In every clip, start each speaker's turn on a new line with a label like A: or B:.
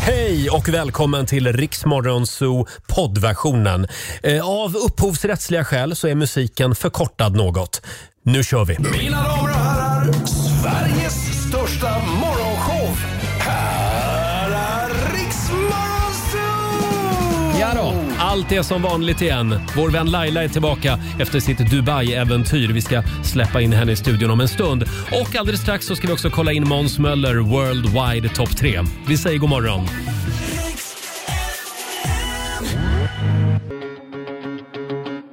A: Hej och välkommen till Riksmorgonzoo poddversionen. Eh, Av upphovsrättsliga skäl så är musiken förkortad något. Nu kör vi!
B: Mina damer och herrar, Sveriges största morgonshow. Här är Riks Morgonzoo!
A: Ja då, allt är som vanligt igen. Vår vän Laila är tillbaka efter sitt Dubai-äventyr. Vi ska släppa in henne i studion om en stund. Och alldeles strax så ska vi också kolla in Måns Möller Worldwide Top 3. Vi säger god morgon.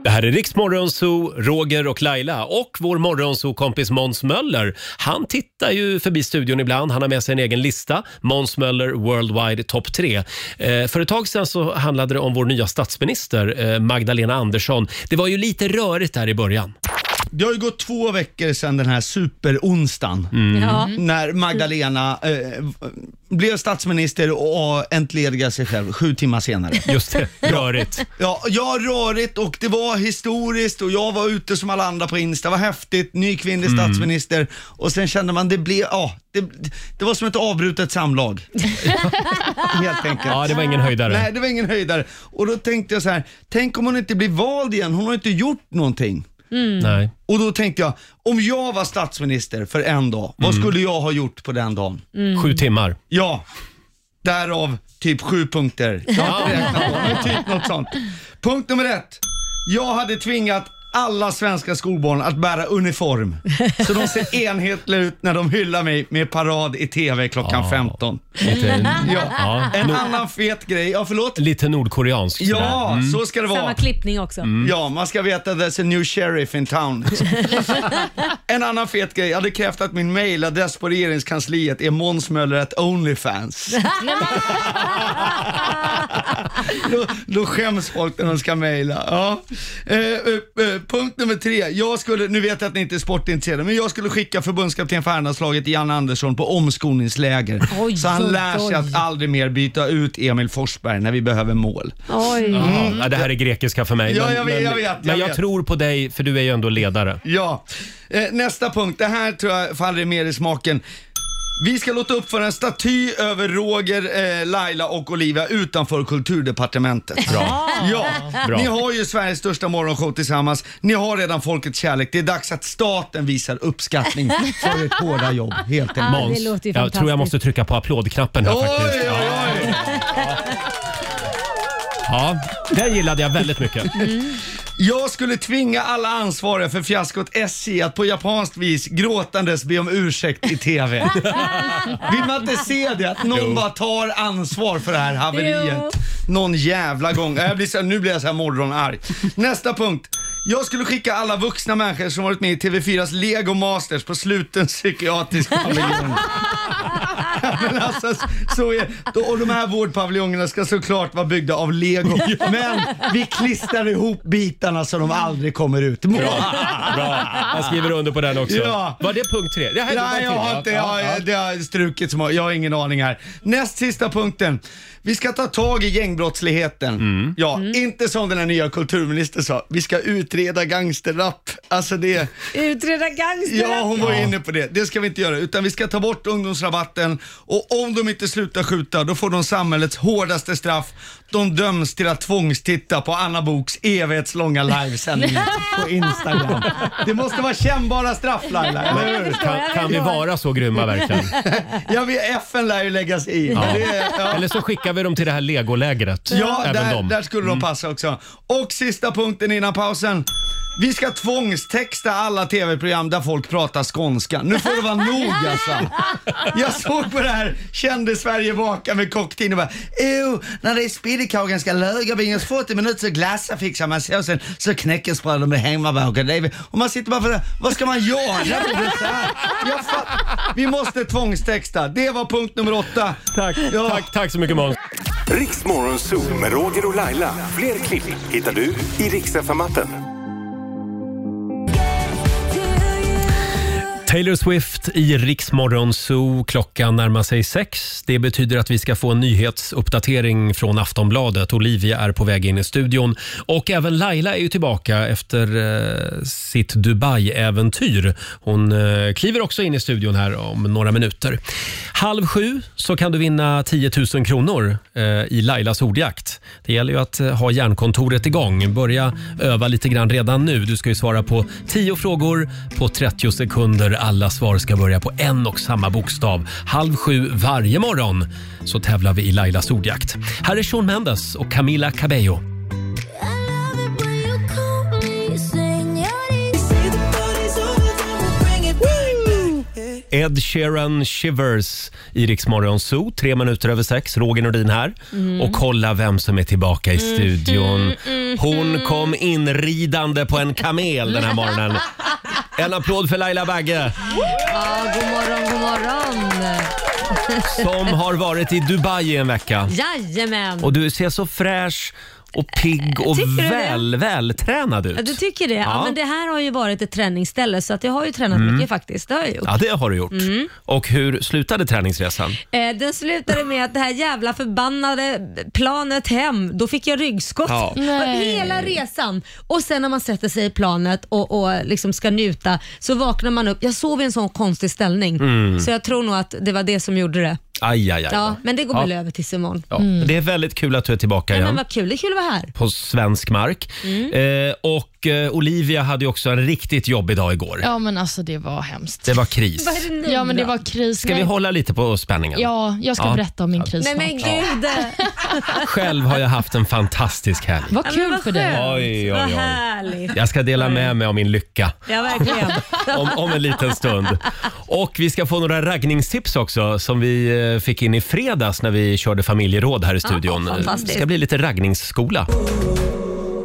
A: Det här är Riks Morgonzoo, Roger och Laila och vår Morgonzoo-kompis Måns Möller. Han tittar ju förbi studion ibland. Han har med sig en egen lista. Måns Möller Worldwide Top 3. Eh, för ett tag sedan så handlade det om vår nya statsminister eh, Magdalena Andersson. Det var ju lite rörigt där i början.
C: Det har ju gått två veckor sedan den här superonsdagen
A: Mm.
D: Ja.
C: när Magdalena eh, blev statsminister och entledigade sig själv sju timmar senare.
A: Just det, rörigt.
C: Ja, ja, rörigt och det var historiskt och jag var ute som alla andra på Insta. Det var häftigt, ny kvinnlig
A: Mm.
C: statsminister och sen kände man det blev, ja, det, det var som ett avbrutet samlag. Helt enkelt.
A: Ja, det var ingen höjdare.
C: Nej, det var ingen höjdare. Och då tänkte jag så här, tänk om hon inte blir vald igen, hon har inte gjort någonting.
A: Nej.
C: Och då tänkte jag, om jag var statsminister för en dag, vad skulle jag ha gjort på den dagen?
A: Mm. Sju timmar.
C: Ja, därav typ sju punkter. Jag har inte räknat på, men typ något sånt. Punkt nummer ett. Jag hade tvingat alla svenska skolbarn att bära uniform. Så de ser enhetliga ut när de hyllar mig med parad i TV klockan
A: Ja.
C: 15.
A: Lite,
C: Ja.
A: ja,
C: En annan fet grej, ja förlåt?
A: lite nordkoreansk. sådär. Mm.
C: Ja, så ska det vara. Mm.
D: Samma klippning också.
C: Ja, man ska veta att there's a new sheriff in town. en annan fet grej, jag hade krävt att min mailadress på regeringskansliet är månsmöller onlyfans. då, då skäms folk när de ska mejla. Ja. Eh, eh, eh, punkt nummer tre, jag skulle, nu vet jag att ni inte är sportintresserade, men jag skulle skicka förbundskapten för herrlandslaget Jan Andersson på omskolningsläger.
D: Oj,
C: så han
D: oj,
C: lär sig
D: oj.
C: att aldrig mer byta ut Emil Forsberg när vi behöver mål. Mm.
D: Oj.
A: Jaha, ja, det här är grekiska för mig.
C: Ja,
A: men-
C: jag vet,
A: men-
C: jag vet, jag
A: Men jag
C: vet.
A: tror på dig, för du är ju ändå ledare.
C: Ja, eh, nästa punkt. Det här tror jag faller mer i smaken. Vi ska låta uppföra en staty över Roger, eh, Laila och Olivia utanför kulturdepartementet. Bra. Ja,
A: Bra.
C: ni har ju Sveriges största morgonshow tillsammans. Ni har redan folkets kärlek. Det är dags att staten visar uppskattning för ert hårda jobb, helt enkelt.
D: Ja, det låter
A: Måns,
D: ju
A: jag tror jag
D: fantastiskt.
A: måste trycka på applådknappen här
C: Oj,
A: faktiskt.
C: oj,
A: Ja.
C: oj.
A: Ja, den gillade jag väldigt mycket.
C: Jag skulle tvinga alla ansvariga för fiaskot SJ att på japanskt vis gråtandes be om ursäkt i TV. Vill man inte se det? Att någon bara tar ansvar för det här haveriet.
D: Jo.
C: Någon jävla gång. Jag blir så, nu blir jag så här morgonarg. Nästa punkt. Jag skulle skicka alla vuxna människor som varit med i TV4s Lego Masters på sluten psykiatrisk paviljon. Men alltså, så är, då- och de här vårdpaviljongerna ska såklart vara byggda av lego. Men vi klistrar ihop bitarna så de aldrig kommer ut.
A: Bra. Jag skriver under på den också.
C: Ja.
A: Var det punkt tre? Det här
C: Nej, jag har inte, jag, har- det har strukit som jag har ingen aning här. Näst sista punkten. Vi ska ta tag i gängbrottsligheten. Ja, inte som den här nya kulturministern sa. Vi ska utreda gangsterrap. Alltså det...
D: Utreda gangster.
C: Ja, hon var inne på det. Det ska vi inte göra. Utan vi ska ta bort ungdomsrabatten och om de inte slutar skjuta, då får de samhällets hårdaste straff. De döms till att tvångstitta på Anna Boks evighetslånga livesändning på Instagram. Det måste vara kännbara straff Laila, eller hur?
A: Kan, kan vi vara så grymma verkligen?
C: Jag vet, FN lär ju lägga sig i. Ja, det, är- ja.
A: Eller så skickar vi dem till det här legolägret.
C: ja
A: Även
C: där,
A: dem. Mm.
C: där skulle de passa också. Och sista punkten innan pausen. Vi ska tvångstexta alla tv-program där folk pratar skånska. Nu får det vara nog alltså. Jag såg på det här Kände Sverige vaka med kocktin och bara oh, när det är spillekakan ska lagerbingas 40 minuter så glassar fixar man såsen så knäckesbröden blir hemmabakade. Det är väl- Och man sitter bara för vad ska man göra? Det är så här. Jag fatt- Vi måste tvångstexta. Det var punkt nummer åtta.
A: Tack,
C: Ja.
A: tack, tack så mycket Måns.
E: Riks Morgonzoo med Roger och Laila. Fler klipp hittar du i Riks FM-appen.
A: Taylor Swift i Riksmorgon Zoo. Klockan närmar sig sex. Det betyder att vi ska få en nyhetsuppdatering från Aftonbladet. Olivia är på väg in i studion. Och även Laila är ju tillbaka efter eh, sitt Dubai-äventyr. Hon eh, kliver också in i studion här om några minuter. Halv sju så kan du vinna 10 000 kronor eh, i Lailas ordjakt. Det gäller ju att eh, ha hjärnkontoret igång. Börja öva lite grann redan nu. Du ska ju svara på 10 frågor på 30 sekunder. Alla svar ska börja på en och samma bokstav. Halv sju varje morgon så tävlar vi i Lailas ordjakt. Här är Shawn Mendes och Camila Cabello. Ed Sheeran Shivers i Rix Morgon Zoo. Tre minuter över sex. Roger Nordin här.
D: Mm.
A: Och kolla vem som är tillbaka i studion. Hon
D: mm.
A: kom inridande på en kamel den här morgonen. En applåd för Laila Bagge
D: Ja, god morgon, god morgon.
A: som har varit i Dubai i en vecka.
D: Jajamän.
A: Och du ser så fräsch och pigg och
D: Tycker du det?
A: väl, vältränad
D: Ja, du
A: ut.
D: tycker det? Ja.
A: Ja. Mm.
D: men det här har ju varit ett träningsställe så att jag har ju tränat mycket faktiskt. Det har jag Mm. gjort.
A: Ja, det har du gjort. Och hur slutade träningsresan?
D: Eh, den slutade med att det här jävla förbannade planet hem, då fick jag ryggskott
A: Ja.
D: Av hela resan. Och sen när man sätter sig i planet och, och liksom ska njuta så vaknar man upp. Jag sov i en sån konstig ställning
A: Mm.
D: så jag tror nog att det var det som gjorde det.
A: Aj, aj, aj.
D: Ja, men det går
A: Ja.
D: väl över tills imorgon.
A: Ja. Det är väldigt kul att du är tillbaka
D: Ja,
A: igen.
D: men vad kul, det är kul att vara här.
A: på svensk mark.
F: Mm.
A: Eh, och eh, Olivia hade ju också en riktigt jobbig dag igår.
F: Ja men alltså det var hemskt.
A: Det var kris.
D: Vad är det nu
F: Ja men det
D: då?
F: var kris.
A: Ska vi
F: Nej,
A: hålla lite på spänningen?
F: Ja, jag ska
A: Ja.
F: berätta om min kris
D: Nej
F: snart.
D: men gud!
A: Själv har jag haft en fantastisk helg.
F: Vad
D: Ja,
F: kul
D: men vad
F: för dig.
D: skönt.
A: Oj, oj,
D: Vad
A: oj.
D: härligt.
A: Jag ska dela med mig av min lycka
D: Ja, verkligen.
A: om, om en liten stund. Och vi ska få några raggningstips också som vi eh, fick in i fredags när vi körde familjeråd här i studion. det
D: fantastiskt.
A: ska bli lite raggningsskola.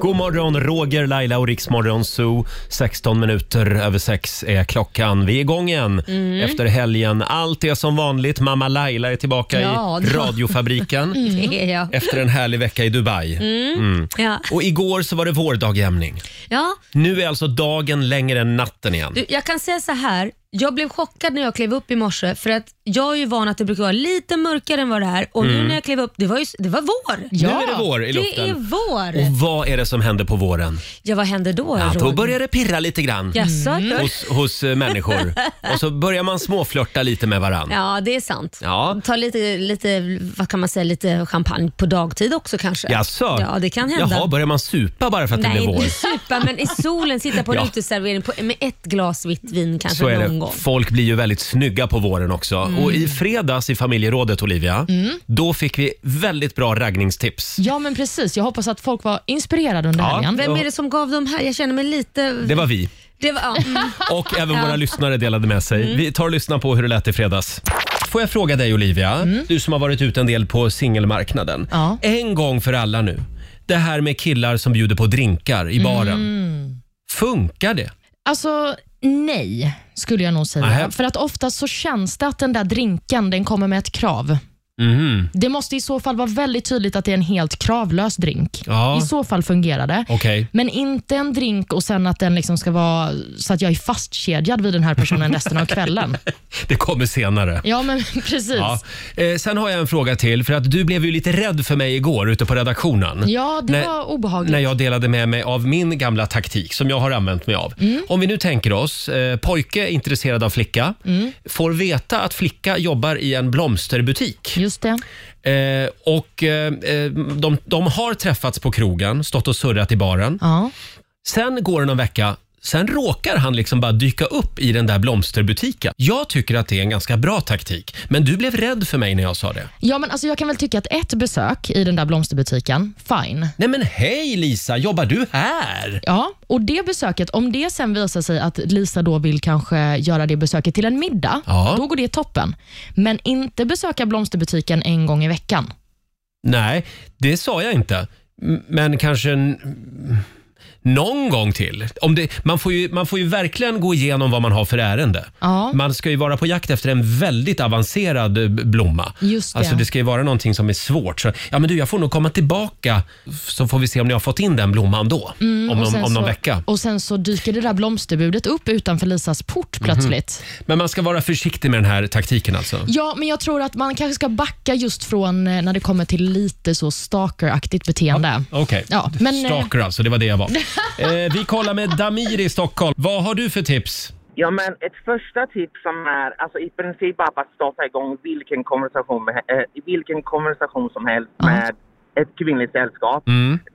A: God morgon, Roger, Laila och Riksmorgon Zoo. 16 minuter över sex är klockan. Vi är igång igen
D: Mm.
A: efter helgen. Allt är som vanligt. Mamma Laila är tillbaka
D: Ja,
A: i
D: det-
A: radiofabriken
D: Det är jag.
A: Mm. efter en härlig vecka i Dubai.
D: Mm.
A: Mm.
D: Ja.
A: Och igår så var det vårdagjämning.
D: Ja,
A: Nu är alltså dagen längre än natten igen.
D: Du, jag kan säga så här. Jag blev chockad när jag klev upp i morse för att jag är ju van att det brukar vara lite mörkare än vad det är och nu när jag klev upp, det var, ju, det var vår.
A: Mm. Nu är det vår i
D: Det
A: luften.
D: är vår.
A: Och vad är det som händer på våren?
D: Ja, vad händer då?
A: Ja, då
D: Roger?
A: börjar det pirra lite grann
D: Jaså?
A: hos, hos eh, människor. Och så börjar man småflörta lite med varann.
D: Ja, det är sant.
A: Ja.
D: Ta lite, lite, vad kan man säga, lite champagne på dagtid också kanske.
A: Jaså?
D: Ja, det kan hända.
A: Jaha, börjar man supa bara för att det
D: Nej,
A: blir vår?
D: inte supa, men i solen, sitta på en
A: Ja.
D: uteservering på, med ett glas vitt vin kanske
A: Så är
D: någon
A: det.
D: gång. Mm.
A: Folk blir ju väldigt snygga på våren också. Och i fredags i familjerådet, Olivia, då fick vi väldigt bra raggningstips.
F: Ja men precis, jag hoppas att folk var inspirerade under
A: Ja.
F: helgen.
D: Vem är det som gav dem här? Jag känner mig lite...
A: Det var vi.
D: Det var, ja, mm.
A: Och även våra lyssnare delade med sig.
F: Mm.
A: Vi tar och lyssnar på hur det lät i fredags. Får jag fråga dig Olivia, du som har varit ute en del på singelmarknaden.
F: Mm. Ja.
A: En gång för alla nu, det här med killar som bjuder på drinkar i baren.
F: Mm.
A: Funkar det?
F: Alltså nej, skulle jag nog säga.
A: Nähä.
F: För att oftast så känns det att den där drinken den kommer med ett krav. Det måste i så fall vara väldigt tydligt att det är en helt kravlös drink.
A: Ja.
F: I så fall fungerar det.
A: Okej.
F: Men inte en drink och sen att den liksom ska vara så att jag är fastkedjad vid den här personen resten av kvällen.
A: Det kommer senare.
F: Ja, men precis.
A: Ja.
F: Ja.
A: Eh, sen har jag en fråga till, för att du blev ju lite rädd för mig igår ute på redaktionen.
F: det
A: Nej.
F: var obehagligt.
A: när jag delade med mig av min gamla taktik som jag har använt mig av.
F: Mm.
A: Om vi nu tänker oss, eh, pojke är intresserad av flicka,
F: Mm.
A: får veta att flicka jobbar i en blomsterbutik.
F: Just det.
A: Eh, och eh, eh, de, de har träffats på krogen, stått och surrat i baren.
F: Ja.
A: Sen går det någon vecka, sen råkar han liksom bara dyka upp i den där blomsterbutiken. Jag tycker att det är en ganska bra taktik, men du blev rädd för mig när jag sa det.
F: Ja, men alltså jag kan väl tycka att ett besök i den där blomsterbutiken, fine.
A: Nej men hej Lisa, jobbar du här?
F: Ja, och det besöket, om det sen visar sig att Lisa då vill kanske göra det besöket till en middag,
A: Ja.
F: då går det toppen. Men inte besöka blomsterbutiken en gång i veckan.
A: Nej, det sa jag inte. M- Men kanske en, mm, någon gång till. Om det, man, får ju, man får ju verkligen gå igenom vad man har för ärende.
F: Ja.
A: Man ska ju vara på jakt efter en väldigt avancerad eh, b- blomma.
F: Just det.
A: Alltså det ska ju vara någonting som är svårt. Så, ja men du, jag får nog komma tillbaka så får vi se om ni har fått in den blomman då. om,
F: Mm, Och
A: någon-
F: sen
A: om någon
F: så,
A: vecka.
F: Och sen så dyker det där blomsterbudet upp utanför Lisas port
A: Mhm.
F: plötsligt.
A: Men man ska vara försiktig med den här taktiken alltså.
F: Ja, men jag tror att man kanske ska backa just från eh, när det kommer till lite så stalkeraktigt beteende.
A: Okej,
F: Ja, men, eh,
A: stalker alltså. Det var det jag var. eh, vi kollar med Damir i Stockholm. Vad har du för tips?
G: Ja, men ett första tips som är alltså i princip bara att starta igång vilken konversation, med, eh, vilken konversation som helst
F: Ja.
G: med ett kvinnligt sällskap.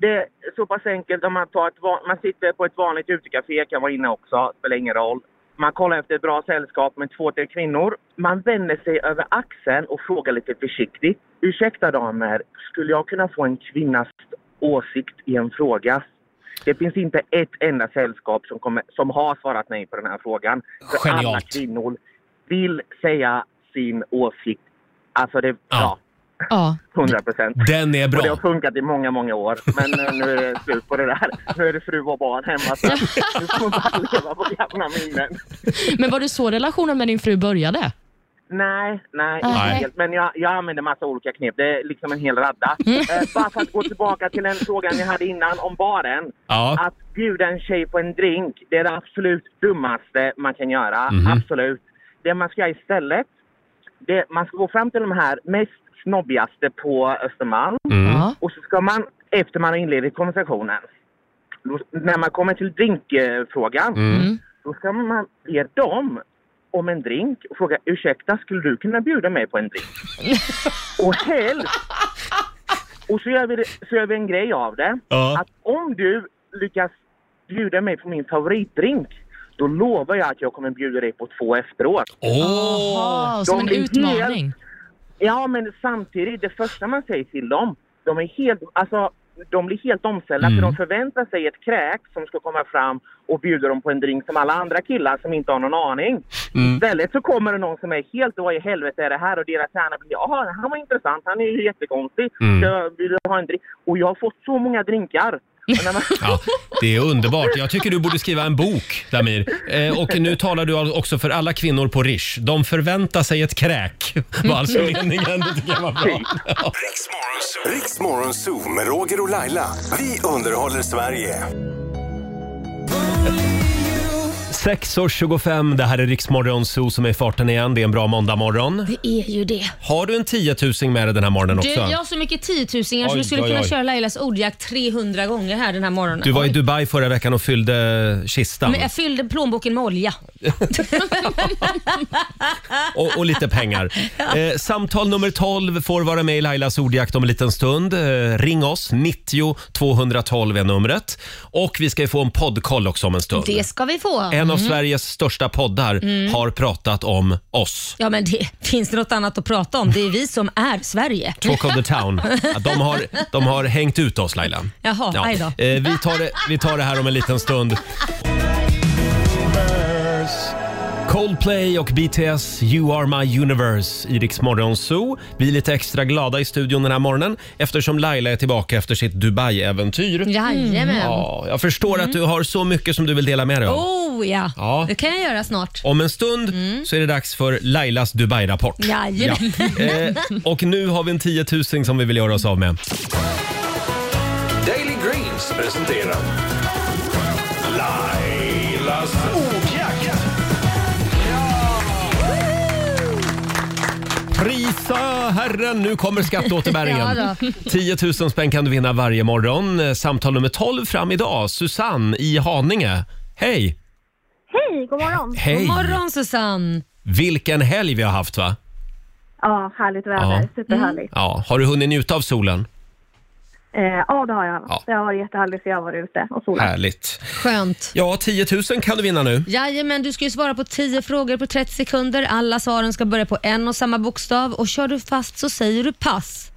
G: Det är så pass enkelt om man tar ett van- man sitter på ett vanligt utekafé, kan vara inne också, spelar ingen roll. Man kollar efter ett bra sällskap med två, tre kvinnor. Man vänder sig över axeln och frågar lite försiktigt. Ursäkta damer, skulle jag kunna få en kvinnas åsikt i en fråga? Det finns inte ett enda sällskap som, kommer, som har svarat nej på den här frågan. För alla
A: Genialt.
G: kvinnor vill säga sin åsikt. Alltså, det,
A: Ja.
G: ja.
F: Ja.
G: 100 procent.
A: Den är
G: Och det har
A: bra.
G: funkat i många, många år. Men eh, nu är det slut på det där. Nu är det fru och barn hemma. Så nu får man bara leva på gamla minnen.
F: Men var det så relationen med din fru började?
G: Nej, nej,
F: Nej.
G: inte helt. Men jag, jag använder massa olika knep. Det är liksom en hel radda.
F: Mm.
G: Eh, bara för att gå tillbaka till den frågan vi hade innan om baren.
A: Ja.
G: Att bjuda en tjej på en drink, det är det absolut dummaste man kan göra.
F: Mhm.
G: Absolut. Det man ska göra istället, det, man ska gå fram till de här mest snobbigaste på Östermalm.
F: Ja.
G: Och så ska man, efter man har inledit konversationen, då, när man kommer till drinkfrågan,
F: Mm.
G: då ska man be dem om en drink och fråga ursäkta, skulle du kunna bjuda mig på en drink? och helst... Och så gör, vi det, så gör vi en grej av det.
A: Ja.
G: Att om du lyckas bjuda mig på min favoritdrink, då lovar jag att jag kommer bjuda dig på två efteråt.
A: Åh!
F: Aha, som
G: de
F: en
G: blir
F: utmaning.
G: Ja, men samtidigt, det första man säger till dem, de är helt, alltså, de blir helt omställda för
A: Mm.
G: de förväntar sig ett kräk som ska komma fram och bjuda dem på en drink som alla andra killar som inte har någon aning.
A: Mm.
G: Istället så kommer det någon som är helt, vad i helvete är det här? Och deras hjärna blir, jaha, han var intressant, han är ju jättekonstig.
A: Mm.
G: Ska jag- vill du ha en drink? Och jag har fått så många drinkar. Och när man,
A: Ja, det är underbart. Jag tycker du borde skriva en bok, Damir. Eh, och nu talar du också för alla kvinnor på Rish. De förväntar sig ett kräk, var alltså meningen. Det tycker jag var bra.
E: Riks Morgonzoo med Roger och Laila. Vi underhåller Sverige.
A: 6.25, det här är Riksmorgon Zoo som är i farten igen. Det är en bra måndagmorgon.
D: Det är ju det.
A: Har du en tiotusing med dig den här morgonen
D: Du,
A: också?
D: jag har så mycket tiotusingar så
A: Oj,
D: du skulle
A: oj,
D: kunna
A: oj.
D: köra Lailas ordjakt 300 gånger här den här morgonen.
A: Du var i Dubai förra veckan och fyllde kistan.
D: Men jag fyllde plånboken med olja.
A: och, och lite pengar. Eh, samtal nummer 12 får vara med i Lailas ordjakt om en liten stund. Eh, ring oss, 90 212 är numret. Och vi ska ju få en poddkoll också om en stund.
D: Det ska vi få. Mm.
A: En av Sveriges största poddar har pratat om oss.
D: Ja men det, finns det något annat att prata om? Det är vi som är Sverige.
A: Talk of the town. Ja, De har, de har hängt ut oss Laila.
D: Jaha, aj då.
A: Eh, vi, tar det, vi tar det här om en liten stund. Coldplay och BTS You Are My Universe i Rix Morgon Zoo. Vi är lite extra glada i studion den här morgonen eftersom Laila är tillbaka efter sitt Dubai-äventyr.
D: Jajamän.
A: Ja, jag förstår att du har så mycket som du vill dela med dig av.
D: Oh ja.
A: Ja.
D: det kan jag göra snart.
A: Om en stund så är det dags för Lailas Dubai-rapport.
D: Mm. Jajamän.
A: Eh, och nu har vi en 10 000 som vi vill göra oss av med.
B: Daily Greens presenterar Lailas ordjakt.
A: Prisa Herren, nu kommer skatteåterbäringen.
D: Ja
A: 10 000 spänn kan du vinna varje morgon. Eh, Samtal nummer 12 fram idag. Susanne i Haninge. Hej!
H: Hej, god morgon.
A: Hej!
D: God morgon Susanne.
A: Vilken helg vi har haft va?
H: Ja, härligt väder.
A: Ja.
H: Superhärligt.
A: Ja, har du hunnit njuta av solen?
H: Eh, ja, det har jag.
A: Mm. Ja.
H: Det har varit jättehärligt för jag har varit ute och solat.
A: Härligt.
D: Skönt.
A: Ja, 10 000 kan du vinna nu.
D: Jajamän, du ska ju svara på 10 frågor på 30 sekunder. Alla svaren ska börja på en och samma bokstav och kör du fast så säger du pass.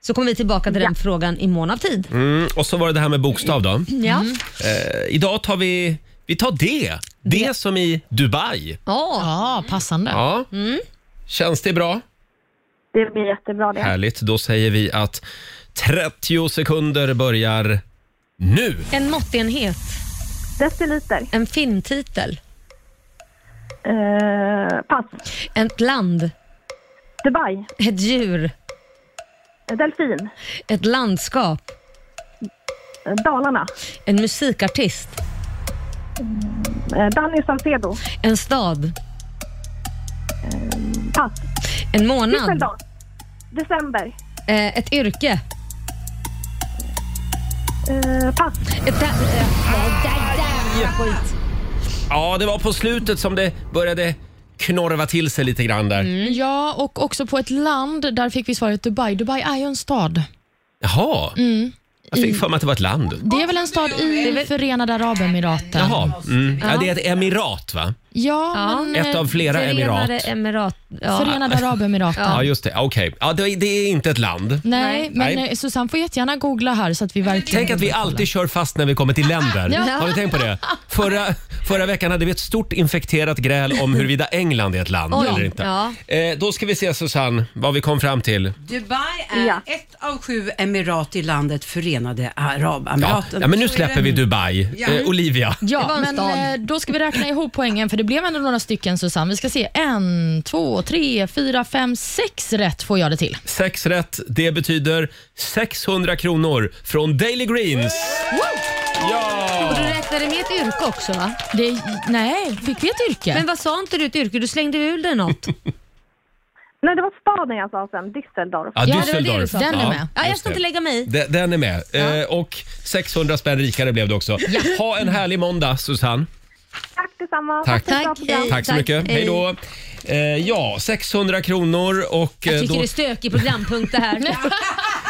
D: Så kommer vi tillbaka till den frågan i mån av tid.
A: Mm, och så var det det här med bokstav då.
D: Ja.
A: Eh, idag tar vi, vi tar D. D som i Dubai.
D: Åh,
F: Ja, passande.
A: Ja.
F: Mm.
A: Känns det bra?
H: Det blir jättebra det.
A: Härligt. Då säger vi att 30 sekunder börjar nu.
D: En måttenhet,
H: Deciliter.
D: en filmtitel,
H: Eh, pass.
D: ett land,
H: Dubai.
D: ett djur,
H: Delfin.
D: ett landskap,
H: Eh, Dalarna.
D: en musikartist,
H: Eh, Danny Saucedo.
D: en stad,
H: Eh, Pass.
D: en månad,
H: Tisseldag. December.
D: eh, ett yrke.
H: Eh, pass.
D: eh, Ett där, eh, där, där, där, skit.
A: Ja, det var på slutet som det började knorva till sig lite grann
F: Mm.
A: där.
F: Ja, och också på ett land. Där fick vi svaret Dubai. Dubai är ju en stad.
A: Jaha. Jag fick för mig att det var ett land.
F: Det är väl en stad i Förenade Arabemiraten?
A: Jaha. Mm. Ja, det är ett emirat va?
F: Ja,
D: Ja.
F: men,
A: Ett av flera emirat.
D: Förenade Emirat. Ja.
F: Förenade Arabemiraten.
A: Ja, just det. Okej. Ja, det, det är inte ett land.
F: Nej, men
A: Nej.
F: eh, Susanne får jättegärna googla här så att vi verkligen...
A: Tänk att vi alltid kör fast när vi kommer till länder.
F: Ja.
A: Har ni tänkt på det? Förra, förra veckan hade vi ett stort infekterat gräl om huruvida England är ett land
D: Oj.
A: eller inte.
D: Ja.
A: Eh, då ska vi se Susanne, vad vi kom fram till.
I: Dubai är
H: Ja.
I: ett av sju emirat i landet Förenade
A: Ja,
I: Arabemiraten.
A: ja, men nu
I: Så är det.
A: släpper vi Dubai.
I: Ja.
A: Eh, Olivia.
D: Det var
F: Ja,
D: en
F: men
D: stad.
F: eh, då ska vi räkna ihop poängen för det blev ändå några stycken Susanne. Vi ska se. En, två, tre, fyra, fem, sex rätt får jag det till.
A: Sex rätt, det betyder 600 kronor från Daily Greens.
D: Och
A: Ja!
D: du räknade med ett yrke också va?
F: Det, nej, fick vi ett yrke?
D: Men vad sa inte du ett yrke? Du slängde ur dig något.
H: Nej, det var staden jag sa sen. Düsseldorf.
A: Ja,
F: det var det
A: Düsseldorf.
F: du sa. Den är med.
D: Ja, jag
A: just
D: ska
A: det.
D: inte lägga mig i.
A: De- Den är med. Eh, och 600 spänn rikare blev det också. Ha en härlig måndag, Susanne.
H: Tack detsamma.
A: Tack.
H: för ett bra
D: Tack,
H: program.
D: hej.
A: Tack så
D: Tack,
A: mycket.
D: hej.
A: Hej då. Eh, ja, 600 kronor och... eh,
D: Jag tycker
A: då,
D: det är stökig programpunkt det här.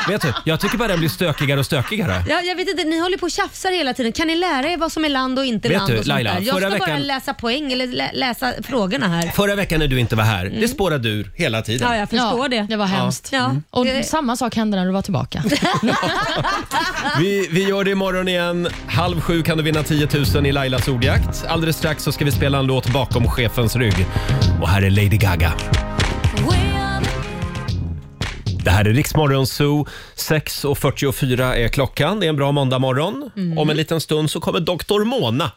A: vet du, jag tycker bara den blir stökigare och stökigare.
D: Ja, jag vet inte, ni håller på och tjafsar hela tiden. Kan ni lära er vad som är land och inte
A: Vet
D: land?
A: du,
D: och sånt
A: Laila,
D: där? Jag
A: förra
D: ska bara
A: veckan-
D: läsa poäng eller lä- läsa frågorna här.
A: Förra veckan när du inte var här, det spårade ur hela tiden.
D: Ja, jag förstår
F: ja,
D: det.
F: Det var hemskt.
D: Ja.
A: Mm.
D: Eh.
F: Och
D: Det-
F: samma sak hände när du var tillbaka.
A: Vi, vi gör det imorgon igen. Halv sju kan du vinna 10 000 i Lailas ordjakt. Alldeles strax så ska vi spela en låt bakom chefens rygg. Och här är Lady Gaga. Det här är Riksmorgon Zoo. 6.44 är klockan. Det är en bra måndagmorgon. Om en liten stund så kommer Dr. Mona
D: Mm.